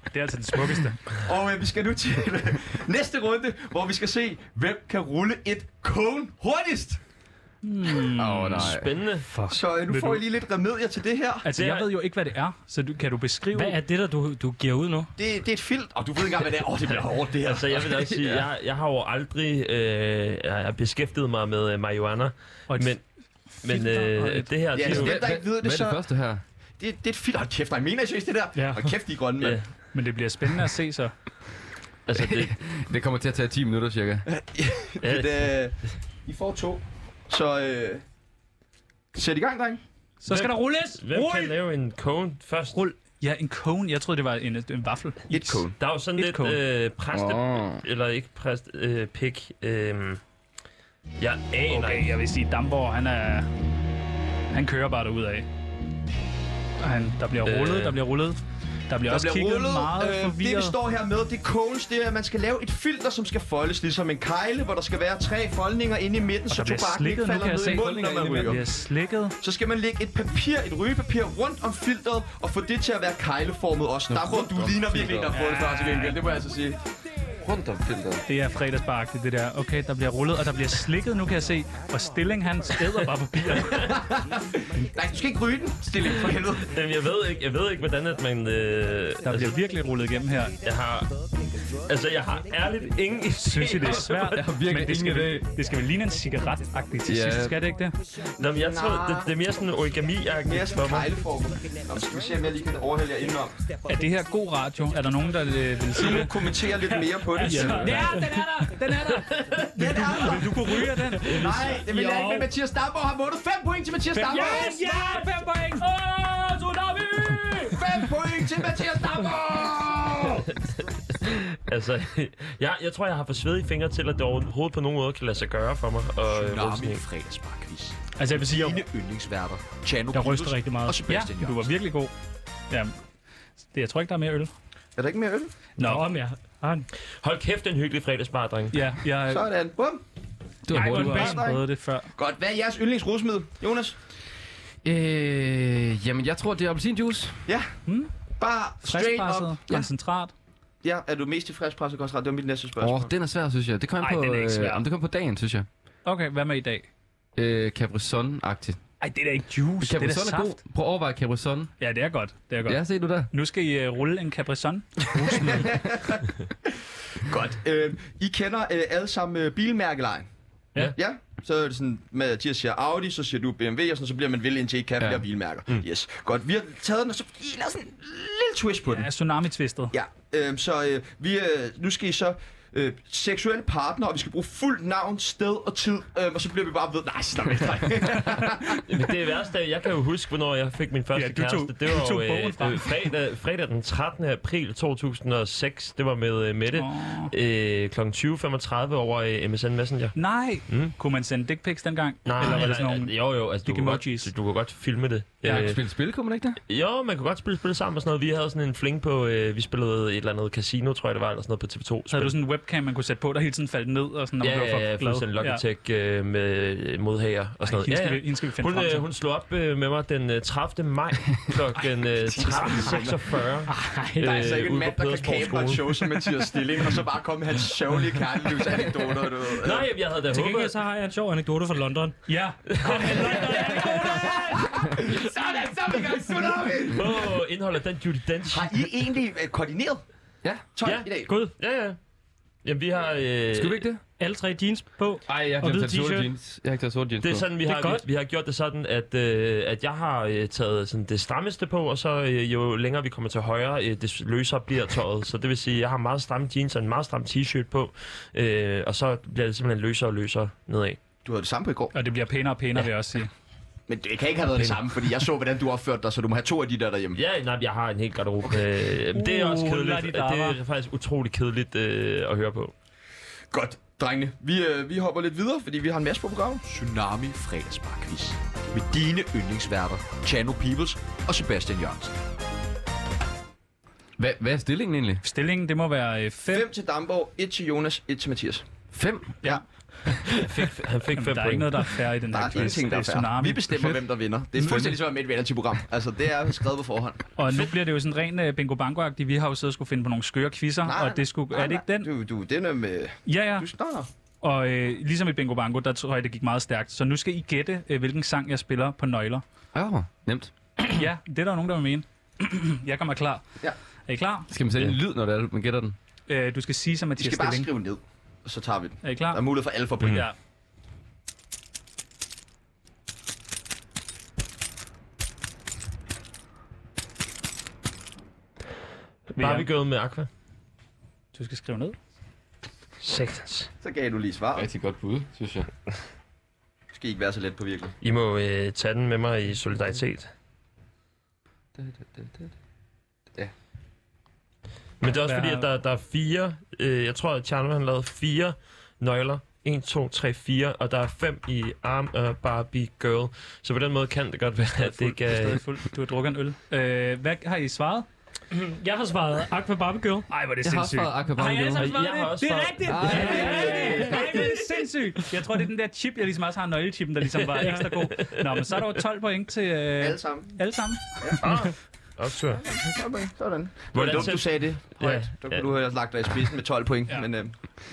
Det er altså den smukkeste. Og øh, vi skal nu til øh, næste runde, hvor vi skal se, hvem kan rulle et cone hurtigst. Åh, oh, nej. spændende. Så øh, nu Vil får du- I lige lidt remedier til det her. Altså, Det er- jeg ved jo ikke, hvad det er, så du, kan du beskrive... Hvad er det, der du, du giver ud nu? Det, det er et filt, og du ved ikke engang, hvad det er. Åh, oh, det bliver hårdt, det her. Altså, jeg vil også sige, jeg, jeg har jo aldrig øh, jeg har beskæftiget mig med øh, marihuana. Og et Men Men Filter og øh, et- det her, Ja, det altså er jo... dem, der ikke ved det, Hvad er det så... første her? Det, det er et filter. Hold kæft, nej, mener jeg seriøst det der? Ja. Ja. Hold kæft, de er grønne, mand. Ja. Men det bliver spændende at se så. Altså, det, Det kommer til at tage 10 minutter cirka. Men, øh, I får to. Så øh, sæt i gang, dreng. Så skal der rulles! hvem kan Rul! lave en cone først? Rul. Ja, en cone. Jeg troede, det var en, en vaffel. Et kone. Der er jo sådan Et lidt cone. øh, præste... Åh. Eller ikke præst... Øh, pik... Øh, jeg aner okay. Okay, jeg vil sige, Damborg, han er... Han kører bare derud af. Han, der bliver Øh. rullet, der bliver rullet. Der bliver Der også bliver kigget rullet. meget øh, Øh, det, vi forvirret. står her med, det er cones. Det er, at man skal lave et filter, som skal foldes ligesom en kegle, hvor der skal være tre foldninger inde i midten, så der bliver tobakken ikke slikket, nu falder kan jeg ned i se. munden, når man Der ryger. bliver slikket. Så skal man lægge et papir, et rygepapir rundt om filteret, og få det til at være kegleformet også. Der hvor du ligner virkelig ikke, der har fået det før til gengæld. Det må jeg altså sige. Rundt om filteret. Det er fredagsbaragtigt, det der. Okay, der bliver rullet, og der bliver slikket, nu kan jeg se. Og Stilling, han æder bare papiret. Nej, du skal ikke ryge den, Stilling, for helvede. Jamen, jeg ved ikke, jeg ved ikke hvordan at man... Øh, Der altså, bliver virkelig rullet igennem her. jeg har... Altså, jeg har ærligt ingen idé. Synes I, det er svært? Jeg har virkelig Men det skal, ingen vel, det skal vel ligne en cigaret-agtigt til Ja. sidst, skal det ikke det? Nå, men jeg tror, det, det er mere sådan en origami-agtigt Mere sådan for en mig. kegleformet. Nå, skal vi se, om jeg lige kan overhælde jer indenom. Er det her god radio? Er der nogen, der øh, vil sige det? Kommenter lidt mere på det. Ja, den er der! Den er der! Den er der. Du kunne ryge af den. Nej, det vil jeg Jo. ikke, men Mathias Damborg har vundet 5 point til Mathias Damborg. ja! Fem point! Åh, tsunami! 5 point til Mathias Damborg! Altså, jeg, jeg tror, jeg har for svedige fingre til, at det overhovedet på nogen måde kan lade sig gøre for mig. Og, øh, rulle sådan en. fredagsbarkvis. Altså, jeg vil sige, jeg, yndlingsværter. Tjano jeg ryster rigtig meget. Og Ja, Sebastian du var Jørgensen. virkelig god. Jamen, det, jeg tror ikke, der er mere øl. Er der ikke mere øl? Nå, om jeg har en... Hold kæft, det er en hyggelig fredagsbar, dreng. Ja, jeg, Sådan. Bum. Du var jeg hurtig. kunne bare- have prøvet det før. Godt. Hvad er jeres yndlingsrusmiddel, Jonas? Øh, jamen, jeg tror, det er appelsinjuice. Ja. Hmm? Bare straight Friskpresset, up. koncentrat. Ja, er du mest til friskpresset koncentrat? Det var mit næste Åh, spørgsmål. oh, den er svær, synes jeg. Det kom Ej, Ej, på, den er ikke svær. øh, om det kom på dagen, synes jeg. Okay, hvad med i dag? Øh, Capri Sun-agtigt. Ej, det er da ikke juice, Capri det er Sun da er god. saft. Prøv at overveje Capri Sun. Ja, det er godt, det er godt. Ja, se du der. Nu skal I uh, rulle en Capri Sun. Godt. Øh, I kender øh, alle sammen øh, bilmærkelejen. Ja. Ja, så er det sådan, Mathias siger Audi, så siger du BMW, og sådan, så bliver man vildt indtil ikke kan Ja. flere bilmærker. Mm. Yes. Godt, vi har taget den, og så lige lavet sådan en lille twist på den. Ja, tsunami-tvistet. Ja, øh, så øh, vi, øh, nu skal I så øh, seksuelle partner, og vi skal bruge fuldt navn, sted og tid, øh, og så bliver vi bare ved. Nej, slap af, dreng. Men det er værst, at jeg kan jo huske, hvornår jeg fik min første Ja, du tog- kæreste. Det du var tog jo bogen frem. øh, fredag, fredag den 13. april 2006. Det var med øh, Mette Åh. øh, kl. 20.35 over øh, MSN Messenger. Nej! Kunne man sende dick pics dengang? Eller var det sådan nogle... jo, jo, altså, du, Big kunne emojis? godt, du kunne godt filme det. Ja, Øh, øh. spille spil, kunne man ikke det? Jo, man kunne godt spille spil sammen og sådan noget. Vi havde sådan en fling på, øh, vi spillede et eller andet casino, tror jeg det var, eller sådan noget på TV2. Havde du sådan en webcam, man kunne sætte på, der hele tiden faldt ned, og sådan, når man ja, blev for ja, ja, glad? fuldstændig Logitech øh, med modhager og sådan Ej, hende noget. skal Ja, vi- ja. hende skal vi finde hun, frem til. hun slog op øh, med mig den øh, 30. maj kl. Øh, 13.46. Der er Øh, altså ikke en mand, der kan kamera et show som Mathias Stilling, og så bare komme med hans sørgelige kærligheds anekdoter, du ved. Nej, jeg havde da Til håbet... gengæld så har jeg en sjov anekdote fra London. Ja, Sådan, så er vi i gang, tsunami! På indholdet den Judy Dench. Har I egentlig øh, koordineret? Ja. 12 Ja. i dag. Gud, Ja, ja. Jamen, vi har... Øh, Skal vi ikke det? alle tre jeans på. Nej, jeg har Og glemt hvid at tage sorte t-shirt. jeans. Jeg har ikke taget sorte jeans Det er på. sådan, vi Det er har, vi, godt. vi har gjort det sådan, at, øh, at jeg har øh, taget sådan det strammeste på, og så øh, jo længere vi kommer til højre, øh, det løsere bliver tøjet. Så det vil sige, at jeg har meget stramme jeans og en meget stram t-shirt på, øh, og så bliver det simpelthen løsere og løsere nedad. Du havde det samme på i går. og det bliver pænere og pænere, vil jeg også sige. Men det kan ikke have været det samme, fordi jeg så, hvordan du opførte dig, så du må have to af de der derhjemme. Ja, nej, jeg har en helt garderobe. Okay. Øh, men det er også Uh, kedeligt. Det la-di-da, er faktisk utrolig kedeligt øh, at høre på. Godt, drengene. Vi, øh, vi hopper lidt videre, fordi vi har en masse på programmet. Tsunami fredagsbarkvis. Med dine yndlingsværter, Chano Peoples og Sebastian Jørgensen. Hvad, hvad er stillingen egentlig? Stillingen, det må være øh, 5. 5 til Damborg, 1 til Jonas, 1 til Mathias. Fem? Ja. Han fik fem Der er ikke point. noget, der er færre i den Der her er ingenting, der er det tsunami. fair. Vi bestemmer, hvem der vinder. Det er fuldstændig som med et reality-program. Altså, det er skrevet på forhånd. Og nu bliver det jo sådan ren øh, bingo bango -agtigt. Vi har jo siddet og skulle finde på nogle skøre quizzer, og det skulle, er det ikke den? Du, du, den er med... Ja, ja. Du snakker. Og øh, ligesom i bingo bango, der tror jeg, det gik meget stærkt. Så nu skal I gætte, øh, hvilken sang jeg spiller på nøgler. Åh, oh, nemt. ja, det er der jo nogen, der vil mene. jeg kommer klar. Ja. Er I klar? Skal man sætte en lyd, når det er, man gætter den? Øh, du skal sige som Vi Mathias skal bare Stilling. skrive ned, og så tager vi den. Er I Der er klar? mulighed for alle for point. Ja. Barbie Girl med Aqua. Du skal skrive ned. Øh. Sektens. Så gav du lige svaret. Rigtig godt bud, synes jeg. Du skal ikke være så let på virkelig. I må øh, tage den med mig i solidaritet. Ja. Men det er også fordi, Hvad- at der, der er fire... Øh, jeg tror, at Tjerno han lavede fire nøgler. 1, 2, 3, 4, og der er fem i Arm og Barbie Girl. Så på den måde kan det godt være, at det ikke Du er er... stadig fuld. Du har drukket en øl. Øh, hvad har I svaret? Jeg har svaret Aqua Barbie Girl. Nej, hvor er det Jeg har også fået Har I alle Aquabango. sammen svaret Jeg har det? også Det altså, er svaret- rigtigt! Ej. Det er rigtigt! Ej, det er sindssygt! Jeg tror, det er den der chip, jeg ligesom også har nøglechippen, der ligesom var ekstra god. Nå, men så er der jo 12 point til øh, Alle sammen. alle sammen. Optur. Okay, sådan. Hvordan Hvordan dumt, selv- du sagde det højt. Ja, Ja, der kunne ja. du have lagt dig i spidsen med 12 point. Ja. Men, øh, Ej,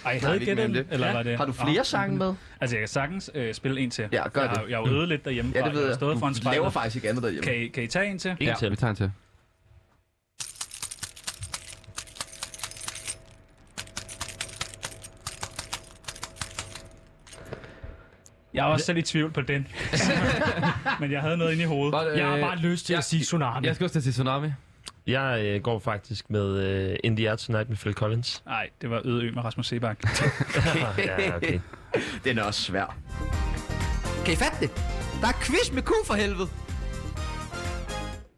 Nej, havde vi I er ikke med om gættet det. den? Eller var det? har du flere sange med? Altså, jeg kan sagtens øh, spille en til. Ja, gør jeg, har- det. Jeg har jo øvet lidt derhjemme, Ja, det ved jeg. har jeg. stået foran Du laver spejlet. faktisk ikke andet derhjemme. Kan I, kan I tage en til? En Ja. til. Vi tager en til. Jeg Jeg var også selv i tvivl på den. Men jeg havde noget inde i hovedet. But, Jeg har bare lyst til at sige Tsunami. jeg skal også til at sige Tsunami. Jeg øh, går faktisk med øh, In The Air Tonight med Phil Collins. Nej, det var Øde Ø med Rasmus Sebak. Ja, okay. Den er også svær. Kan I fatte det? Der er quiz med ku for helvede.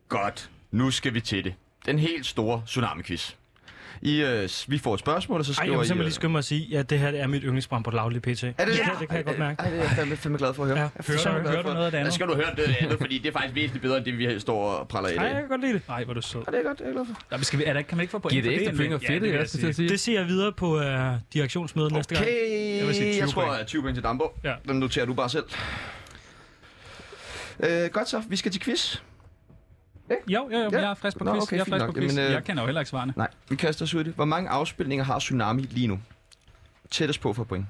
Godt. Nu skal vi til det. Den helt store tsunami-quiz. I, øh, s- vi får et spørgsmål, og så Ej, skriver jeg I... må øh, simpelthen lige skynde mig at sige, at det her det er mit yndlingsprogram på Loudly PT. er det, Ja, det kan jeg godt mærke. Ej, det er jeg fandme, fandme glad for at høre. Ja. Jeg er fandme Hører du- glad hører for- du noget af det Ja, andet? skal du høre det andet, fordi det er faktisk væsentligt bedre, end det, vi står og praller i Ej, dag. jeg kan godt lide det. Nej, hvor er du sød. Ja, det er godt, det er jeg glad for. Nå, men skal vi, er der, kan man ikke få point Giv det for ekstra egentlig? point og fedt, vil ikke? Jeg skal til at sige. Det siger jeg videre på øh, direktionsmødet næste gang. Okay, Jeg vil sige 20 jeg tror, point. at 20 point til Dambo. Ja. Den noterer du bare selv. Øh, godt så, vi skal til quiz. Jo, jo, jo, Ja. jeg er frisk på Nå, quiz. okay, jeg er fint frisk nok. på quiz. Jamen, øh, Jeg kender jo heller ikke svarene. Nej, vi kaster os ud i det. Hvor mange afspilninger har Tsunami lige nu? Tættest på for point.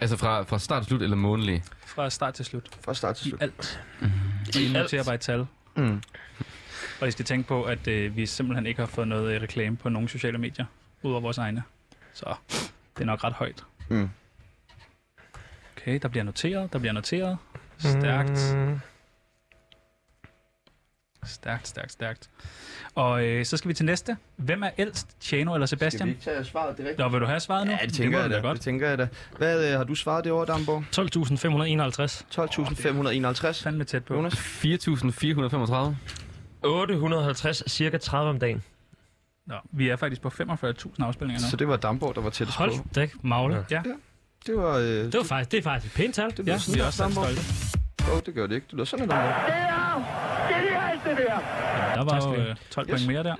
Altså fra, fra start til slut eller månedlig? Fra start til slut. Fra start til I slut. alt. Og I noterer bare et tal. Mm. Og I skal tænke på, at øh, vi simpelthen ikke har fået noget øh, reklame på nogen sociale medier, udover vores egne. Så det er nok ret højt. Mm. Okay, der bliver noteret, der bliver noteret. Stærkt. Stærkt, stærkt, stærkt. Og øh, så skal vi til næste. Hvem er ældst, Tjano eller Sebastian? ikke tage svaret direkt? Nå, vil du have svaret nu? Ja, det tænker jeg det må du da. da Det tænker jeg da. Hvad øh, har du svaret det over, Damborg? 12.551. 12.551. Fandme tæt på. Jonas? 4.435. 850, cirka 30 om dagen. Nå, vi er faktisk på 45.000 afspilninger nu. Så det var Damborg, der var tættest på. Hold da ikke, Magle. Ja. Det var... Øh, det, Det, var faktisk, det er faktisk et pænt tal. det ja. lyder sådan, Vi er her, også selv Damborg. stolte. Åh, det gør det ikke. Det lyder sådan, her, Damborg. Der var jo øh, 12 point Yes. mere der.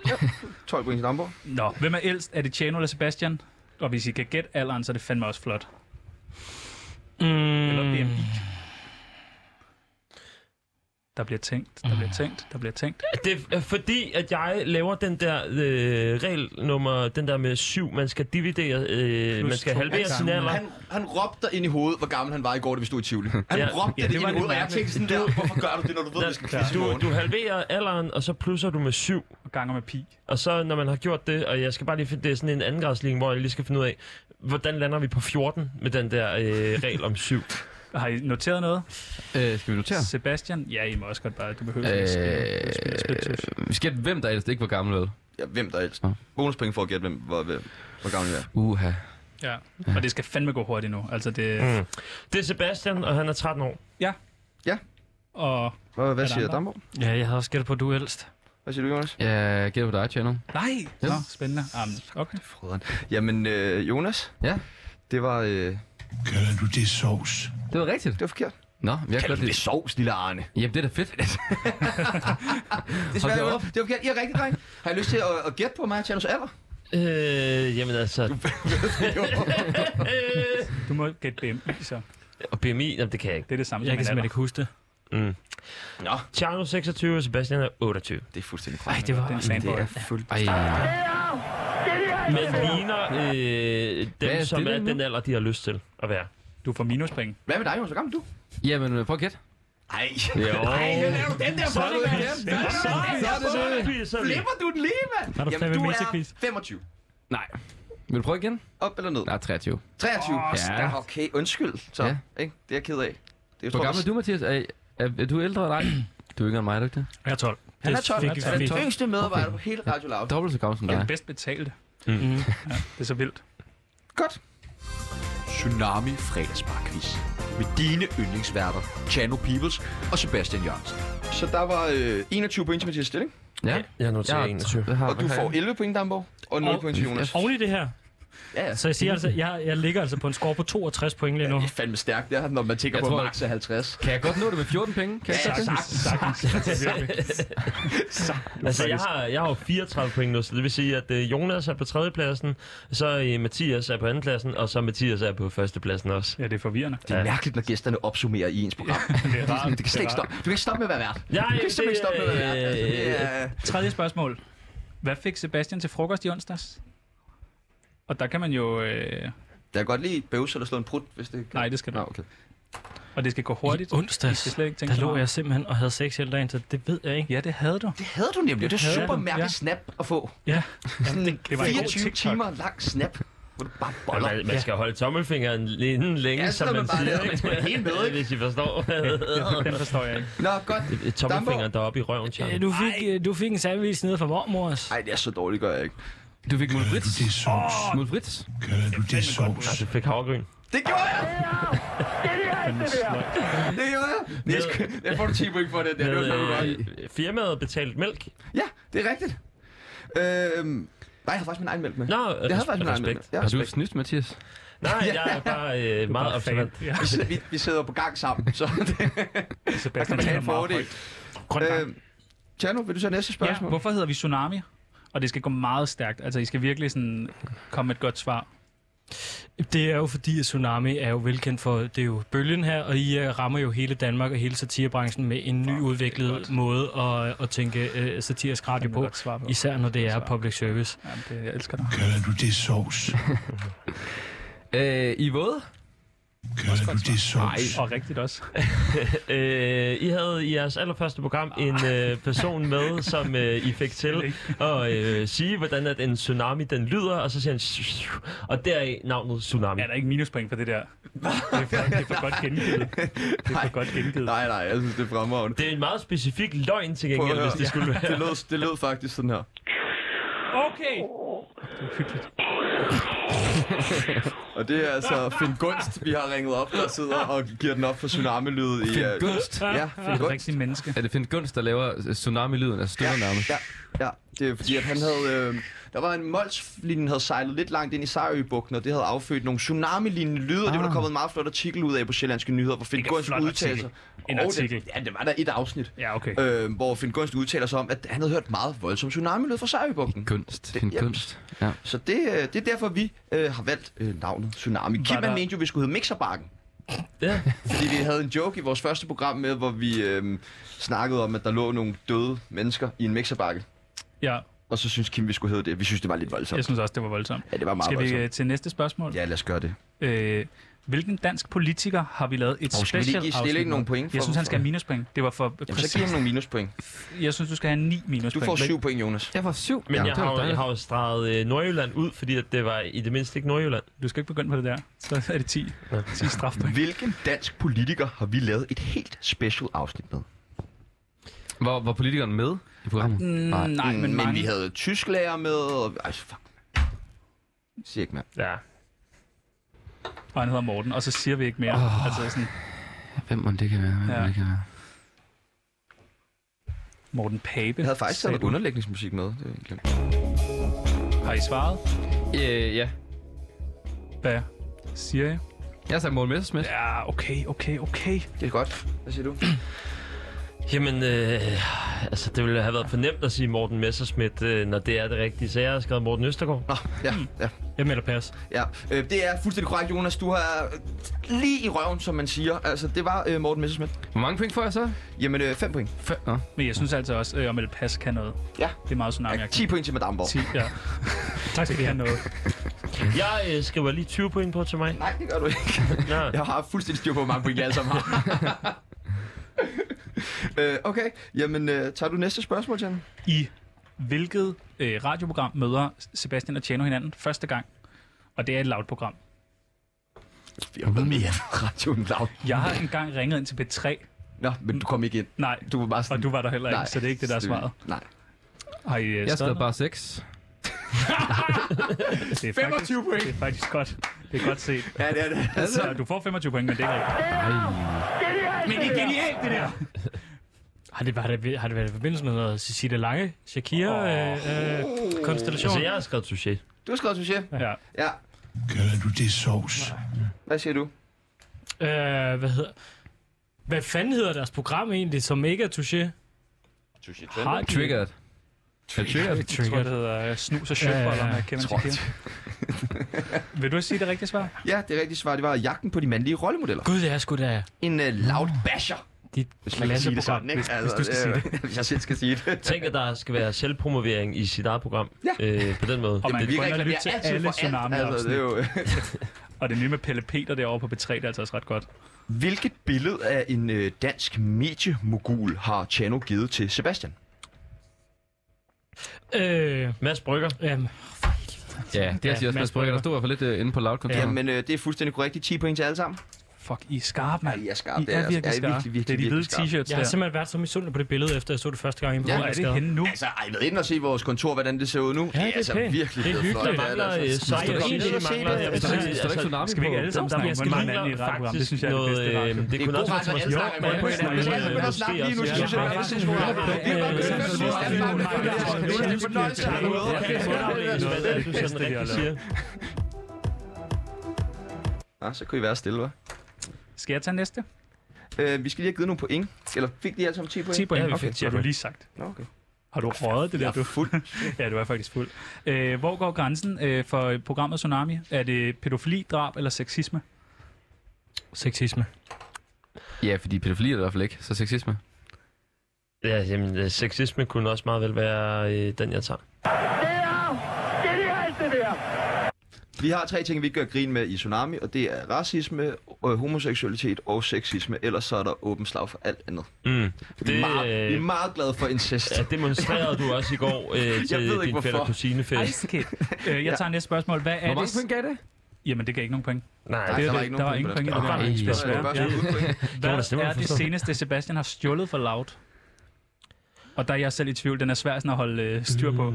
12 point til Damborg. Nå, hvem er ældst? Er det Tjano eller Sebastian? Og hvis I kan gætte alderen, så er det fandme også flot. Eller Mm, BMI. Der bliver tænkt, der bliver tænkt, der bliver tænkt. Det er fordi, at jeg laver den der øh, regel nummer, den der med syv, man skal dividere, øh, man skal to halvere sin sammen. alder. Han, han råbte dig ind i hovedet, hvor gammel han var i går, da vi stod i Tivoli. Han Ja. råbte Ja, dig det ind var i lidt hovedet, og jeg tænkte sådan der, hvorfor gør du det, når du ved, at vi skal kvise i Du, morgen? du halverer alderen, og så plusser du med syv. Og ganger med pi. Og så, når man har gjort det, og jeg skal bare lige finde, det er sådan en andengradsligning, hvor jeg lige skal finde ud af, hvordan lander vi på 14 med den der øh, regel om syv. Har I noteret noget? Øh, skal vi notere? Sebastian? Ja, I må også godt bare, du behøver ikke skrive- skrive skrifttysk. Øh, vi skal gætte, hvem der ellers ikke var gammel, vel? Ja, hvem der helst. Nå. Bonuspenge for at gætte, hvem hvor, hvor gammel jeg er. Uha. Ja, og det skal fandme gå hurtigt nu. Altså det, Mm. Det er Sebastian, og han er 13 og... år. Hvad, hvad Er der siger andre? Damborg? ja, jeg havde også gættet på, at du er ældst. Hvad siger du, Jonas? Jeg gætter på dig, Channel. Nej! Ja. Nå, spændende. Um, okay. Frøderen. Jamen, øh, Jonas? Ja. Det var, øh, Det var rigtigt. det var forkert. Nå, men jeg kan godt Det er lide. sovs, lille Arne. Jamen, det er da fedt. Det er svært, Hold da Jonas. det var forkert. I er rigtig dreng. Har I lyst til at, at gætte på mig og Tjernos alder? Øh, jamen altså... øh, Du må gætte BMI, så. og BMI, jamen, det kan jeg ikke. Mm. Det er det samme Jeg kan som en alder. simpelthen ikke huske det. Tjerno 26, og Sebastian er 28. Det er fuldstændig Ej, det var Den også... fanboy. Ej, Men ligner øh, dem, Hvad er er det, som er det nu? den alder, de har lyst til at være. Du får minuspring. Hvad med dig, Jonas? Hvor gammel er du? jamen, øh, prøv at gætte. Ej. Jo. Ej, hvad laver du den der for? Sådan, sådan, Flipper du den lige, mand? Har du Jamen, fandme du metaquiz? er 25. Nej. Vil du prøve igen? Op eller ned? Nej, 23. 23. Åh, stærkt. Okay, undskyld. Så, Ja. ikke? Det er jeg ked af. Det er, Hvor gammel er du, Mathias? Er, er, er du ældre end dig? Du er yngre end mig, er du ikke det? Jeg er 12. Han er top. fik Han vi er fint. den yngste medarbejder på hele Radio Loud. Dobbelt så gammel som Ja. dig. Den bedst betalte. Mm. Det er så vildt. Godt. Tsunami fredagsbarquiz med dine yndlingsværter, Chano Peoples og Sebastian Jørgensen. Så der var øh, 21 point til Mathias Stilling. Ja. Jeg noterer Jeg 21. har- Og du har- får 11 point, Damborg. Og 0 Og- point til Jonas. Oven i det her. Ja, ja. Så jeg siger altså, jeg, jeg ligger altså på en score på 62 point lige nu. Det er fandme stærkt, det her, når man tænker Jeg på, tror- at max er 50. Kan jeg godt nå det med 14 penge? Kan jeg Ja, godt det? sagtens. Altså, jeg har, jeg har jo 34 point nu, så det vil sige, at øh, Jonas er på tredjepladsen, så øh, Mathias er på andenpladsen, og så Mathias er på førstepladsen også. Ja, det er forvirrende. Det er mærkeligt, når gæsterne opsummerer i ens program. det, er sådan, det kan slet ikke stoppe. Du kan ikke stoppe med at være vært. Ja, Du kan simpelthen ikke stoppe med at være vært. Altså, det er- Tredje spørgsmål. Hvad fik Sebastian til frokost i onsdags? Og der kan man jo... Øh... Jeg kan godt lide bøvse eller slå en prut, hvis det kan. Nej, det skal du. Nå, ikke. okay. Og det skal gå I hurtigt. onsdags, I skal slet ikke tænke der så lå meget. jeg simpelthen og havde sex hele dagen, så det ved jeg ikke. Ja, det havde du. Det havde du nemlig. og Det er Det havde super du, mærkeligt ja. snap at få. Ja. Sådan en det var en god 24 TikTok. timer lang snap, hvor du bare Og boller. Man, man skal holde tommelfingeren inden længe, Ja, så som er man, man bare siger, der. Man er helt med, ikke? hvis I forstår. Den forstår jeg ikke. Nå, godt. tommelfingeren deroppe i røven, Charlie. Øh, Du fik, øh, du fik en sandwich nede fra mormors. Nej, det er så dårligt, gør jeg ikke. Du fik Mulbrits. Åh, Mulbrits. Du Altså, fik havregryn. Det gjorde jeg! Det gjorde jeg! Det er sgu- Jeg får du 10 point for det. Det er Med, jo godt. øh, firmaet betalt mælk. Ja, det er rigtigt. Øhm, nej, jeg har faktisk min egen mælk med. Nå, jeg har faktisk min egen mælk. respekt. Ja, Har du respekt. snydt, Mathias? Nej, jeg er bare øh, meget observant. Ja. Vi sidder- Vi, vi sidder på gang sammen, så det der kan Sebastian man have en ligger meget fordel. højt. Grøn bank. Øh, Tjerno, vil du så næste Ja, spørgsmål? hvorfor hedder vi Tsunami? Og det skal gå meget stærkt. Altså, I skal virkelig sådan komme med et godt svar. Det er jo fordi, at Tsunami er jo velkendt for, det er jo bølgen her, og I øh, rammer jo hele Danmark og hele satirebranchen med en nyudviklet måde at, at tænke øh, satirisk radio Det er på. godt svar på. Især når det er svar. public service. Ja, det, jeg elsker dig. Kalder du det sovs? Øh, I våde? Kalder du det sovs? Og rigtigt også. Øh, I havde i jeres allerførste program Ah. en øh, person med, som øh, I fik til at øh, sige, hvordan at en tsunami den lyder, og så siger han... "Shh, shh", Og deraf navnet tsunami. Ja, der er ikke minuspoint for det der. Det er for, det er for godt gengivet. Det er for godt gengivet. Nej, nej, jeg synes, det er fremragende. Det er en meget specifik løgn til Prøv at gengæld, høre. hvis det skulle være. Det lød, det lød faktisk sådan her. Okay! Det er hyggeligt. Og det er altså Finn Gunst, vi har ringet op, der sidder og giver den op for tsunami-lydet i... Finn øh, Gunst. Ja, Det Finn er et rigtigt Gunst. Altså, menneske. Er det Finn Gunst, der laver øh, tsunami-lyden, altså støtter nærmest? Ja, ja, det er fordi, at han havde... Øh, der var en Mols-linjen, havde sejlet lidt langt ind i Sejrøbugten, og det havde affødt nogle tsunami-lignende lyde, og det var der Ah. kommet en meget flot artikel ud af på Sjællandske Nyheder, hvor Finn Ikke en Gunst flot udtalte sig. artikel. En Jo, artikel. Det, ja, det var der et afsnit. Ja, okay. Øh, hvor Finn Gunst udtaler sig om, at han havde hørt meget voldsom tsunami-lyd fra Sejrøbugten. Kunst. Finn ja. Gunst. Ja. Så det, øh, det er derfor, vi øh, har valgt øh, navnet Tsunami. Kim han der- mente jo, vi skulle hedde Mixerbakken. Ja. Fordi vi havde en joke i vores første program med, hvor vi øh, snakkede om, at der lå nogle døde mennesker i en mixerbakke. Ja, Og så synes Kim, vi skulle hedde det. Vi synes, det var lidt voldsomt. jeg synes også, det var voldsomt. Ja, det var meget Skal vi voldsomt. øh, til næste spørgsmål? Ja, lad os gøre det. Øh, hvilken dansk politiker har vi lavet et Og skal vi lige special give Stilling afsnit med? nogle point for- Jeg synes, han skal have minuspoint. Det var for Jamen, så giver præcis. ham nogle minuspoint. Jeg synes, du skal have 9 Du minuspoint. får syv point, Jonas. Jeg var syv. Men ja, ja, jeg, det var har, jo- jeg dejligt. har jo streget øh, Nordjylland ud, fordi at det var i det mindste ikke Nordjylland. Men Du skal ikke begynde på det der. Så er det 10. 10 strafpoint. Hvilken dansk politiker har vi lavet et helt special afsnit med? Var, var politikeren med i programmet? Mm, Nej. nej, men mange. men vi havde tysklærer med, og... Ej, fuck. Sig ikke mere. Ja. Og han hedder Morten, og så siger vi ikke mere. Åh. Altså sådan, Hvem må det kan være? Hvem Ja. ja. det kan være? Morten Pape. Jeg havde faktisk sagde taget noget du. underlægningsmusik med. Det er egentlig- Har I svaret? Øh, ja. Hvad siger jeg? Jeg sagde Morten Messersmith. Ja. Ja, okay, okay, okay. Det er godt. Hvad siger du? Jamen, øh, altså, det ville have været for nemt at sige Morten Messerschmidt, øh, når det er det rigtige. Så jeg har skrevet Morten Østergaard. Nå, ja, ja. Jeg melder pas. Ja, øh, det er fuldstændig korrekt, Jonas. Du har øh, lige i røven, som man siger. Altså, det var øh, Morten Messerschmidt. Hvor mange point får jeg så? Jamen, 5 øh, point. Fem. Nå. Men jeg synes altså også, øh, om et pas kan noget. Ja. Det er meget tsunami Ja, 10 point til Madame Borg. 10, ja. Tak skal I Det kan have. noget. Jeg øh, skriver lige 20 point på til mig. Nej, det gør du ikke. Nå. Jeg har fuldstændig styr på, hvor mange point jeg alle sammen har. øh, okay, jamen, øh, tager du næste spørgsmål, Jan? I hvilket øh, radioprogram møder Sebastian og Tjano hinanden første gang? Og det er et lavt program. Vi har været med i radioen lav. Jeg har engang ringet ind til B3 Nå, men du kom ikke ind. Nej, Du var bare sådan... og du var der heller ikke, Nej, så det er ikke det, der er selvfølgelig. svaret. Nej. Har I øh, Jeg skrevet skrev noget? bare 6. Det er faktisk, 25 point! det er faktisk godt. Det er godt set. Ja, det er det. Altså, Så du får 25 point, men det er ikke rigtigt. Men det er genialt, det der! Har det, har, det, har det været i forbindelse med noget Cecilie Lange, øh, Shakira-konstellation? Altså, Oh. Øh, øh, jeg har skrevet touché. du har skrevet succes. Ja. Ja. Kalder du det sovs? Hvad siger du? konstellation? øh, hvad hedder... Hvad fanden hedder deres program egentlig, som ikke er touché? Sushi Har de- Triggered. Er triggered? Jeg tror, det hedder øh, snus og sjøboller Ja, med Kevin tror jeg. Shakira. Vil du sige det rigtige svar? Ja, det rigtige svar, det var jagten på de mandlige rollemodeller. Gud, det er sgu da En uh, loud basher. dit Hvis man kan sige det klasseprogram. sådan, ikke? Hvis, altså, hvis du skal sige det. Hvis jeg selv skal sige det. Tænk, at der skal være selvpromovering i sit eget program. Ja. Øh, på den måde. Og man Det kan gå ind virker ikke, og at lytte jeg til altid alle for alt. Altså, det er tsunami jo... Og det nye med Pelle Peter derovre på B3, det er altså også ret godt. Hvilket billede af en øh, dansk mediemogul har Chano givet til Sebastian? Øh, Mads Brygger. øhm, Ja, det er Ja, siger også Mads Mads Brygger. Der stod i hvert fald lidt øh, inde på loud Ja. kontoret. Jamen, øh, det er fuldstændig korrekt. De 10 point til alle sammen. Fuck, I er skarpe, mand. I er skarpe. I det er altså- virkelig ja, skarpe. virkelig, Det er de virkelig hvide skarpe. t-shirts jeg har der. simpelthen været så misundelig på det billede, efter jeg så det første gang inde på Ja, Hvor er det henne nu? Altså, ej, ved inden og se vores kontor, hvordan det ser ud nu. Ja, det det er er altså pænt. virkelig Det er blevet hyggeligt. flot. Der Det Ja, det er mangler altså- øh, Står der Sejr. ikke Egentlig noget at se mangler- der? jeg Står ved der ikke, ikke- står altså, der ikke tsunami Skal vi ikke alle sammen der snakke om, hvordan man er i et radioprogram? Det synes jeg er det bedste radio. øh, øh, det kunne også være alle snakker med hinanden. Prøv at snakke Alle begynder at snakke lige nu, Ja, synes jeg. ja, Det er sindssygt godt. Det er bare- det er bare- det er bare- det er bare- det er bare- det er bare en fornøjelse at have dig med. Jeg kan godt aflæse, hvad det er, du sådan rigtig siger. Nå, så kunne I være stille, hva'? Skal jeg tage næste? Øh, vi skal lige have givet nogle point. Eller fik de alle sammen 10 point? 10 point. Ja, vi fik Okay, 10 har du point. lige sagt. Nå, okay. Har du røget det der? Du... fuld. Ja, du er faktisk fuld. Øh, hvor går grænsen øh, for programmet Tsunami? Er det pædofili, drab eller sexisme? Sexisme. Ja, fordi pædofili er det i hvert fald ikke, så sexisme. Ja, jamen, øh, sexisme kunne også meget vel være øh, den, jeg tager. Vi har tre ting, vi ikke gør grin med i Tsunami, og det er racisme, øh, homoseksualitet og sexisme. Ellers så er der åben slag for alt andet. Mm. Det... Vi, er Det, meget, vi er øh, meget glade for incest. ja, demonstrerede du også i går øh, ved til ikke, din hvorfor. fætter kusinefest. Ice Kid. Øh, jeg tager næste spørgsmål. Hvad er Hvor mange det? point gav det? Jamen, det gav ikke nogen point. Nej, der det, er var det. ikke nogen der var point ingen på point i den. det der. Ej, Det er Så er svært. Ja. det bare sådan, uden point. var da Hvad stemmer, er du altså, det forstår. seneste, Sebastian har stjålet for loud? Og der er jeg selv i tvivl. Den er svær sådan at holde øh, styr på.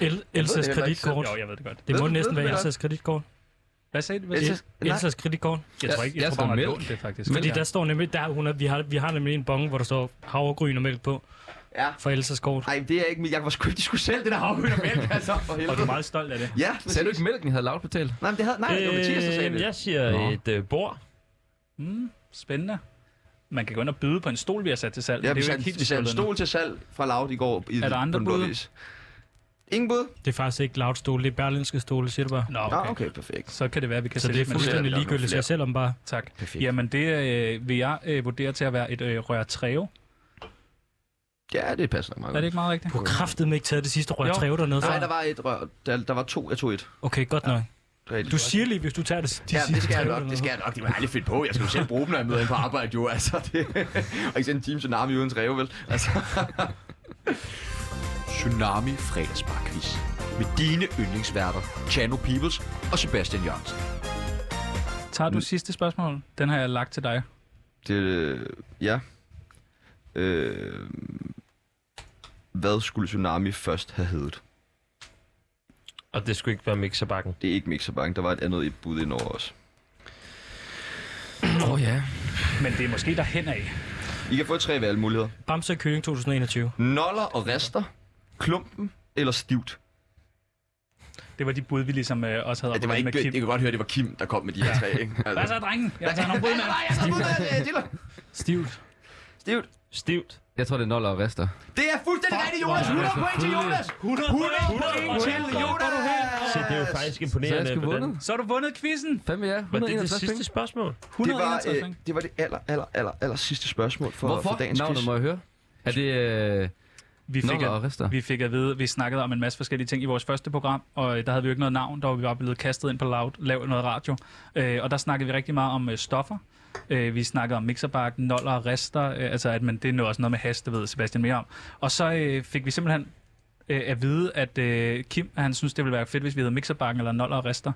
El- heller Elsas ikke kreditkort. Jo, jeg ved det godt. Det må Ved du- næsten ved du være det? Elsas kreditkort. Hvad sagde du? Hvad sagde Incest- du? Nej, Elsas kreditkort. Jeg tror ikke, jeg, jeg jeg tror, står bare, man har mælk. lånt det faktisk. Fordi Ja. der står nemlig, der, hun er, vi, har, vi har nemlig en bonge, hvor der står havregryn og mælk på Ja. for Elsas kort. Nej, det er ikke mit. Jeg var sgu ikke, de skulle selv det der havhøn og mælk, altså. For Og du helvede. er meget stolt af det. Ja, Sagde du præcis. ikke, mælken havde lavt betalt? Nej, men det havde... Nej, det var Mathias, der sagde øh, det. jeg siger Nå. et øh, bord. Mm, spændende. Man kan gå ind og byde på en stol, vi har sat til salg. Ja, men vi det er jo satte ikke vi helt satte en stjålet endnu. stol til salg fra Loud i går i Er der andre på den blå bud? avis. Ingen bud? Det er faktisk ikke lavt stole, det er berlinske stole, siger du bare. Nå, Okay. okay. Ah, okay, perfekt. Så kan det være, at vi kan Så det sælge er dem. fuldstændig flere. ligegyldigt, så jeg selvom bare. Tak. Perfekt. Jamen, det øh, vil jeg øh, vurdere til at være et øh, rørtræve. Ja, det passer nok meget Er det ikke meget rigtigt? Du har kraftet mig ikke taget det sidste rør Jo. træve dernede Nej, fra. der var et rør. Der, der var to. Jeg tog et. Okay, godt nok. Rigtigt. Du siger lige, hvis du tager det, de Ja, sidste det skal jeg træve nok. dernede Det skal jeg nok. Det må jeg aldrig finde på. Jeg skal jo selv bruge dem, når jeg møder ind på arbejde, jo. Altså, det... Og ikke sådan en time tsunami uden træve, vel? Altså. Tsunami fredagsbarquiz. Med dine yndlingsværter, Chano Peoples og Sebastian Jørgensen. Tager du sidste spørgsmål? Den har jeg lagt til dig. Det, øh, ja. Øh, hvad skulle Tsunami først have heddet? Og det skulle ikke være mixerbakken. Det er ikke Mixerbank. Der var et andet bud ind over os. Åh oh, ja. Men det er måske derhen af. I kan få tre valgmuligheder. fra. Bamse og Kylling 2021. Noller og rester, klumpen eller stivt. Det var de bud, vi ligesom øh, også havde Ja, det var oppe ikke, Kim. det kan godt høre, det var Kim, Altså. der kom med de her tre, ikke? Hvad så, drengen? Jeg tager nogle bud med. Nej, jeg skal ud af det, Diller. Stivt. Stivt. Stivt. Jeg tror, det er noller og rester. Det er fuldstændig rigtigt, Jonas. 100 point til Jonas. 100 point til Jonas. Se, det er jo faktisk Så jeg imponerende. øh, skulle hvordan- vundet. Så har du vundet quizzen. Fandme ja, Var det det 161 sidste point. spørgsmål? Det var, 161 øh, det var det aller, aller, aller, aller sidste spørgsmål for, Hvorfor? for dagens Navnet quiz. må jeg høre. Er det øh, Vi fik, noller og at, rester? vi fik at vide, vi snakkede om en masse forskellige ting i vores første program, og øh, der havde vi jo ikke noget navn, der var vi bare blevet kastet ind på loud, lav noget radio. Øh, og der snakkede vi rigtig meget om øh, stoffer. Øh, vi snakkede om mixerbark, noller og rester, øh, altså at man, det er noget, også noget med hash, det ved Sebastian mere om. Og så øh, fik vi simpelthen øh, at vide, at øh, Kim, han synes, det ville være fedt, hvis vi havde mixerbarken eller noller og rester.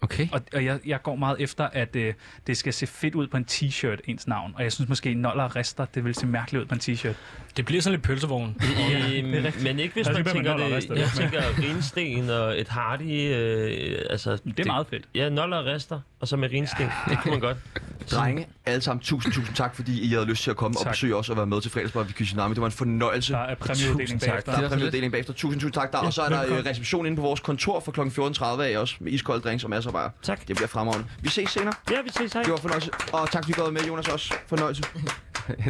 Okay. Og, og jeg, jeg går meget efter, at øh, det skal se fedt ud på en t-shirt, ens navn. Og jeg synes måske, noller og rister, det vil se mærkeligt ud på en t-shirt. Det bliver sådan lidt pølsevogn. Øhm, men ikke hvis Altså, Pas lige på, man man tænker holder det. resten. Jeg tænker rinsten og et hardy. Øh, altså, Det er meget fedt. Ja, noller og rester, og så med rinsten. Det kunne man godt. Drenge, alle sammen, tusind, tusind tak, fordi I havde lyst til at komme tak. og Tak. besøge os og være med til fredagsbar ved Kishinami. Det var en fornøjelse. Der er præmieuddeling bagefter. Der Det er var så præmieuddeling bagefter. Tusind, tusind tak der. Og så er der øh, reception inde på vores kontor fra kl. 14.30 af også, med iskold drinks og masser af bajer. Tak. Det bliver fremragende. Vi ses senere. Ja, vi ses her. Det var fornøjelse. Og tak, fordi du gået med, Jonas, også. Fornøjelse.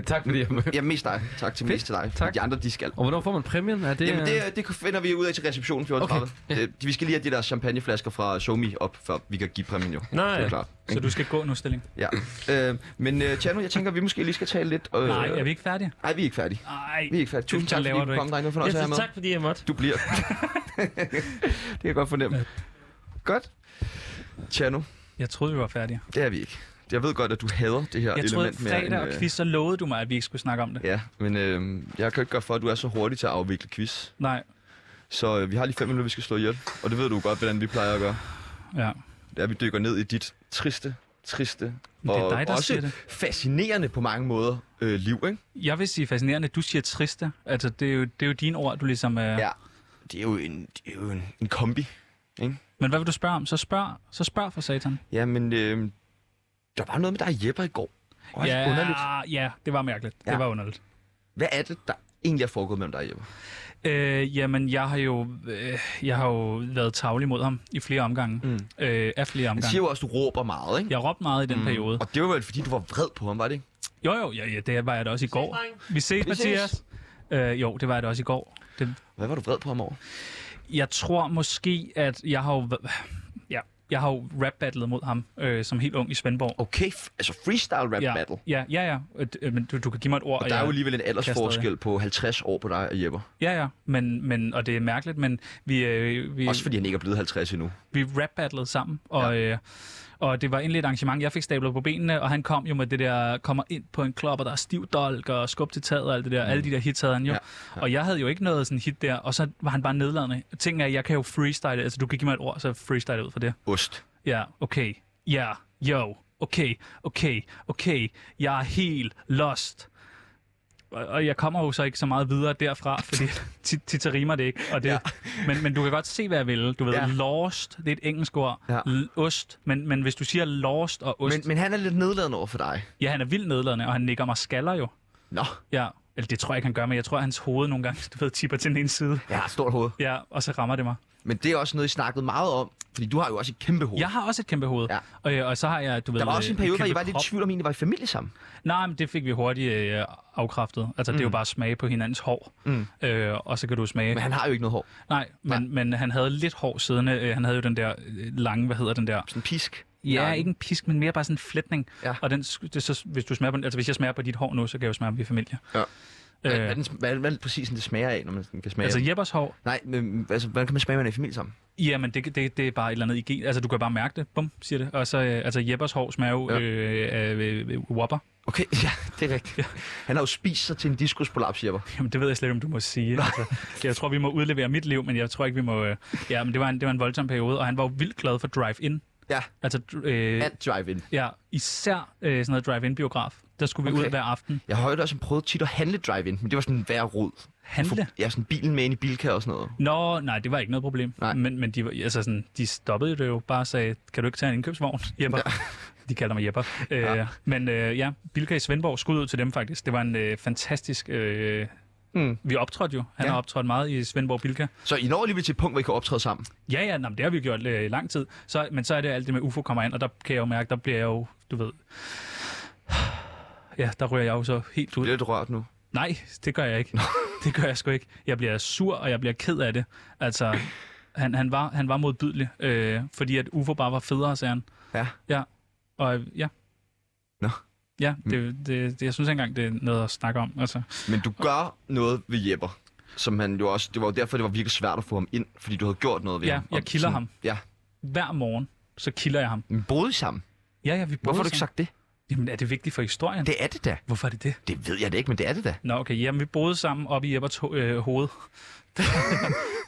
tak fordi jeg mødte. Ja, mest dig. Tak til mest til dig. Tak. De andre, de skal. Og hvornår får man præmien? Er det, Jamen, øh, det, det finder vi ud af til receptionen 14.30. Okay. Det, vi skal lige have de der champagneflasker fra Somi op, før vi kan give præmien jo. Nej. Det er klart. Så du skal gå nu, Stilling. Ja. Øh, men øh, Tjerno, jeg tænker, vi måske lige skal tale lidt... Øh, Nej, er vi ikke færdige? Nej, vi er ikke færdige. Nej. Vi er ikke færdige. Det Tusind tak, laver fordi du du kom, ikke. drenge. Det var en Jeg fornøjelse at siger have med. tak, fordi jeg måtte. Du bliver. det kan jeg godt fornemme. Godt. Tjerno, Jeg troede, vi var færdige. det er vi ikke. Jeg ved godt, at du hader det her Jeg troede, element mere fredag og øh, quiz, så lovede du mig, at vi ikke skulle snakke om det. Ja, men øh, jeg kan jo ikke gøre for, at du er så hurtig til at afvikle quiz. Nej. Så øh, vi har lige fem minutter, vi skal slå ihjel. Og det ved du godt, hvordan vi plejer at gøre. Ja. Det er, at vi dykker ned i dit triste, triste Men det er dig, der også siger det. fascinerende på mange måder øh, liv, ikke? Jeg vil sige fascinerende, at du siger triste. Altså, det er jo, det er jo dine ord, du ligesom... Øh... Ja. Det er jo en, det er jo en, en kombi. Men hvad vil du spørge om? Så spørg, så spørg for satan. Ja, men øh, der var noget med dig og Jeppe i går. Og ja. underligt. ja, det var mærkeligt. Ja. Ja. Det var underligt. Hvad er det, der egentlig er foregået mellem dig og Jeppe? Øh, jamen, jeg har jo øh, jeg har jo været tavlig mod ham i flere omgange. Mm. Øh, af flere Han omgange. siger jo også, at du råber meget, ikke? Jeg råbte meget i den mm. periode. Og det var vel, fordi du var vred på ham, var det ikke? Jo, jo, ja, ja, det var jeg da også i går. Vi ses, Vi ses. Mathias. Øh, jo, det var jeg da også i går. Det, Hvad var du vred på ham over? jeg tror måske, at jeg har jo, ja, jeg har jo rap-battlet mod ham øh, som helt ung i Svendborg. Okay, f- altså freestyle rap ja, ja. battle. Ja, ja, ja. Øh, d- øh, Men du, du kan give mig et ord. Og der er jo alligevel en kaster aldersforskel på 50 år på dig og Jeppe. Ja, ja. Men, men, og det er mærkeligt, men vi, øh, vi, Også fordi han ikke er blevet 50 endnu. vi rap-battlede sammen, og, ja. øh, og det var egentlig et arrangement, jeg fik stablet på benene, og han kom jo med det der, kommer ind på en klub, og der er stiv dolk, og skub til taget, og alt det der, mm. alle de der hits havde han jo. Ja. Ja, Ja. Og jeg havde jo ikke noget sådan hit der, og så var han bare nedladende. Ting er, jeg kan jo freestyle, altså du kan give mig et ord, så freestyle ud for det. Ost. Ja, okay, ja, yeah. yo, okay, okay, okay, jeg er helt lost. Og- Og jeg kommer jo så ikke så meget videre derfra, fordi tit, tit så rimer det ikke. Og det, ja. men, men du kan godt se, hvad jeg vil. Du ved, ja. Ja. lost, det er et engelsk ord. Ja. L- ost, men, men hvis du siger lost og ost... Men, men han er lidt nedladende over for dig. Ja, han er vildt nedladende, og han nikker mig skaller jo. Nå, Ja, eller det tror jeg ikke, han gør, men jeg tror, at hans hoved nogle gange, du ved, tipper til den ene side. jeg har et stort hoved. Ja, og så rammer det mig. Men det er også noget, I snakkede meget om. Fordi du har jo også et kæmpe hoved. Jeg har også et kæmpe hoved. Uh. Ja. Og, øh, og så har jeg, du ved... Der var også en øh, periode, hvor I kæmpe var lidt i krop. tvivl om, I egentlig var i familie sammen. Nej, men det fik vi hurtigt øh, afkræftet. Altså, mm. det er jo bare smage på hinandens hår. Mm. Øh, og så kan du smage... Men han har jo ikke noget hår. Nej, men, men han havde lidt hår siddende. Øh, han havde jo den der øh, lange, hvad hedder den der? Sådan en pisk. Ja, ikke en pisk, men mere bare sådan en flætning. Ja. Og den, sk- det, så, hvis, du smager på, den- altså, hvis jeg smager på dit hår nu, så kan jeg jo smage på vi er familie. Ja. Hvad, Øh, hvad, den, hvad, hvad er det præcis den, det smager af, når man sådan kan smage altså altså, Jeppers hår, Nej, men altså, hvordan kan man smage, at man er i familie sammen? jamen det, det, det er bare et eller andet i gen. Altså du kan bare mærke det, bum, siger det. Og så, øh, altså Jeppers hår smager jo Ja. øh, af øh, øh, Whopper. Okay, ja, det er rigtigt. Ja. Han har jo spist sig til en diskusprolaps, Jepper. Jamen, det ved jeg slet ikke, om du må sige. Altså, jeg tror, vi må udlevere mit liv, men jeg tror ikke, vi må... Øh... Ja, men det var, en, det var en voldsom periode, og han var jo vildt glad for drive-in. Ja. Altså, dr- øh, At drive-in. ja, især øh, sådan noget drive-in-biograf. Der skulle vi okay. ud Okay. hver aften. Jeg har jo også prøvet tit at handle drive-in, men det var sådan værre rod. Handle? Ja, sådan bilen med ind i bilkær og sådan noget. Nå, nej, det var ikke noget problem. Nej. Men, men de, var- altså sådan, de stoppede jo det jo bare og sagde, kan du ikke tage en indkøbsvogn, Jepper? Ja. De kalder mig Jepper. Ja. Øh, men øh, ja, Bilka i Svendborg, skud ud til dem faktisk. Det var en øh, fantastisk... Øh, Mm. Vi optrådte jo. Han Ja. har optrådt meget i Svendborg Bilka. Så I når alligevel til et punkt, hvor I kan optræde sammen. Ja, ja, nå, men det har vi gjort øh, i lang tid. Så, men så er det alt det med UFO kommer ind, og der kan jeg jo mærke, der bliver jeg jo, du ved... Ja, der ryger jeg jo så helt Du ud. bliver lidt rørt nu. Nej, det gør jeg ikke. Det gør jeg sgu ikke. Jeg bliver sur, og jeg bliver ked af det. Altså, han, han, var, han var modbydelig, øh, fordi at UFO bare var federe, sagde han. Ja. Ja, og øh, ja. Nå. Mm. Ja, det, det, det, jeg synes ikke engang, det er noget at snakke om. Altså, Men du gør noget ved Jepper, som han jo også... Det var jo derfor, det var virkelig svært at få ham ind, fordi du havde gjort noget ved Ja, ham. jeg Og kilder sådan- ham. Ja, hver morgen, så kilder jeg ham. men boede I sammen? Ja, ja, vi boede Hvorfor har du ikke sammen. sagt det? Jamen, er det vigtigt for historien? Det er det da. Hvorfor er det det? Det ved jeg da ikke, men det er det da. Nå, okay. Jamen, vi boede sammen oppe i Ebbers ho- øh, hoved.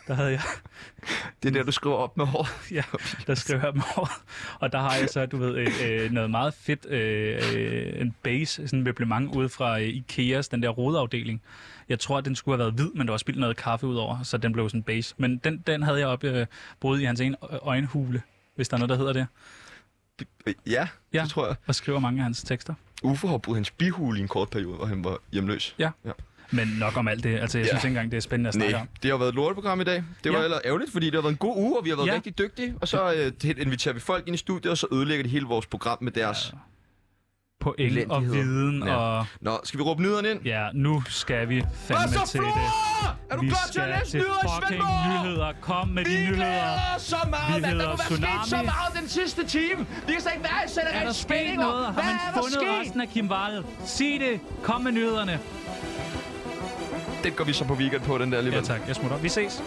der havde jeg, Det er der, du skriver op med hår. ja, der skrev jeg dem over. Og der har jeg så, du ved, øh, øh, noget meget fedt, øh, øh, en base, sådan en møblement ude fra øh, Ikeas, den der rodeafdeling. Jeg tror, at den skulle have været hvid, men der var spildt noget kaffe ud over, så den blev sådan en base. Men den, den havde jeg op, øh, brudet i hans ene ø- øjenhule, hvis der er noget, der hedder det, Ja, Ja. ja, det tror jeg. og skriver mange af hans tekster. Uffe har brugt hans bihul i en kort periode, hvor han var hjemløs. Men nok om alt det. Altså, jeg Ja. synes ikke engang, det er spændende at snakke Nej, om. det har været et lorteprogram i dag. Det var Ja. ja. ellers ærgerligt, fordi det har været en god uge, og vi har været Ja. ja. rigtig dygtige. Og så øh, inviterer vi folk ind i studiet, og så ødelægger de hele vores program med deres... Ja. Point og Elendigheder. viden, Ja. og Nå, skal vi råbe nyderen ind? ja, nu skal vi Hvad fandme så, til det. Flora? Er du Vi klar til at skal læse til nyheder i fucking Svendborg? nyheder. Kom med Vi de nyheder. glæder os så meget, Vi mand. Der hedder må være sket så Tsunami. meget den sidste time. Vi kan slet ikke være i sætter Er der rent sket spænding noget? Har Hvad man er der fundet sket? resten af Kim Wall? Sig det. Kom med nyhederne. Den går vi så på weekend på, den der alligevel. Ja tak, jeg smutter. Vi ses.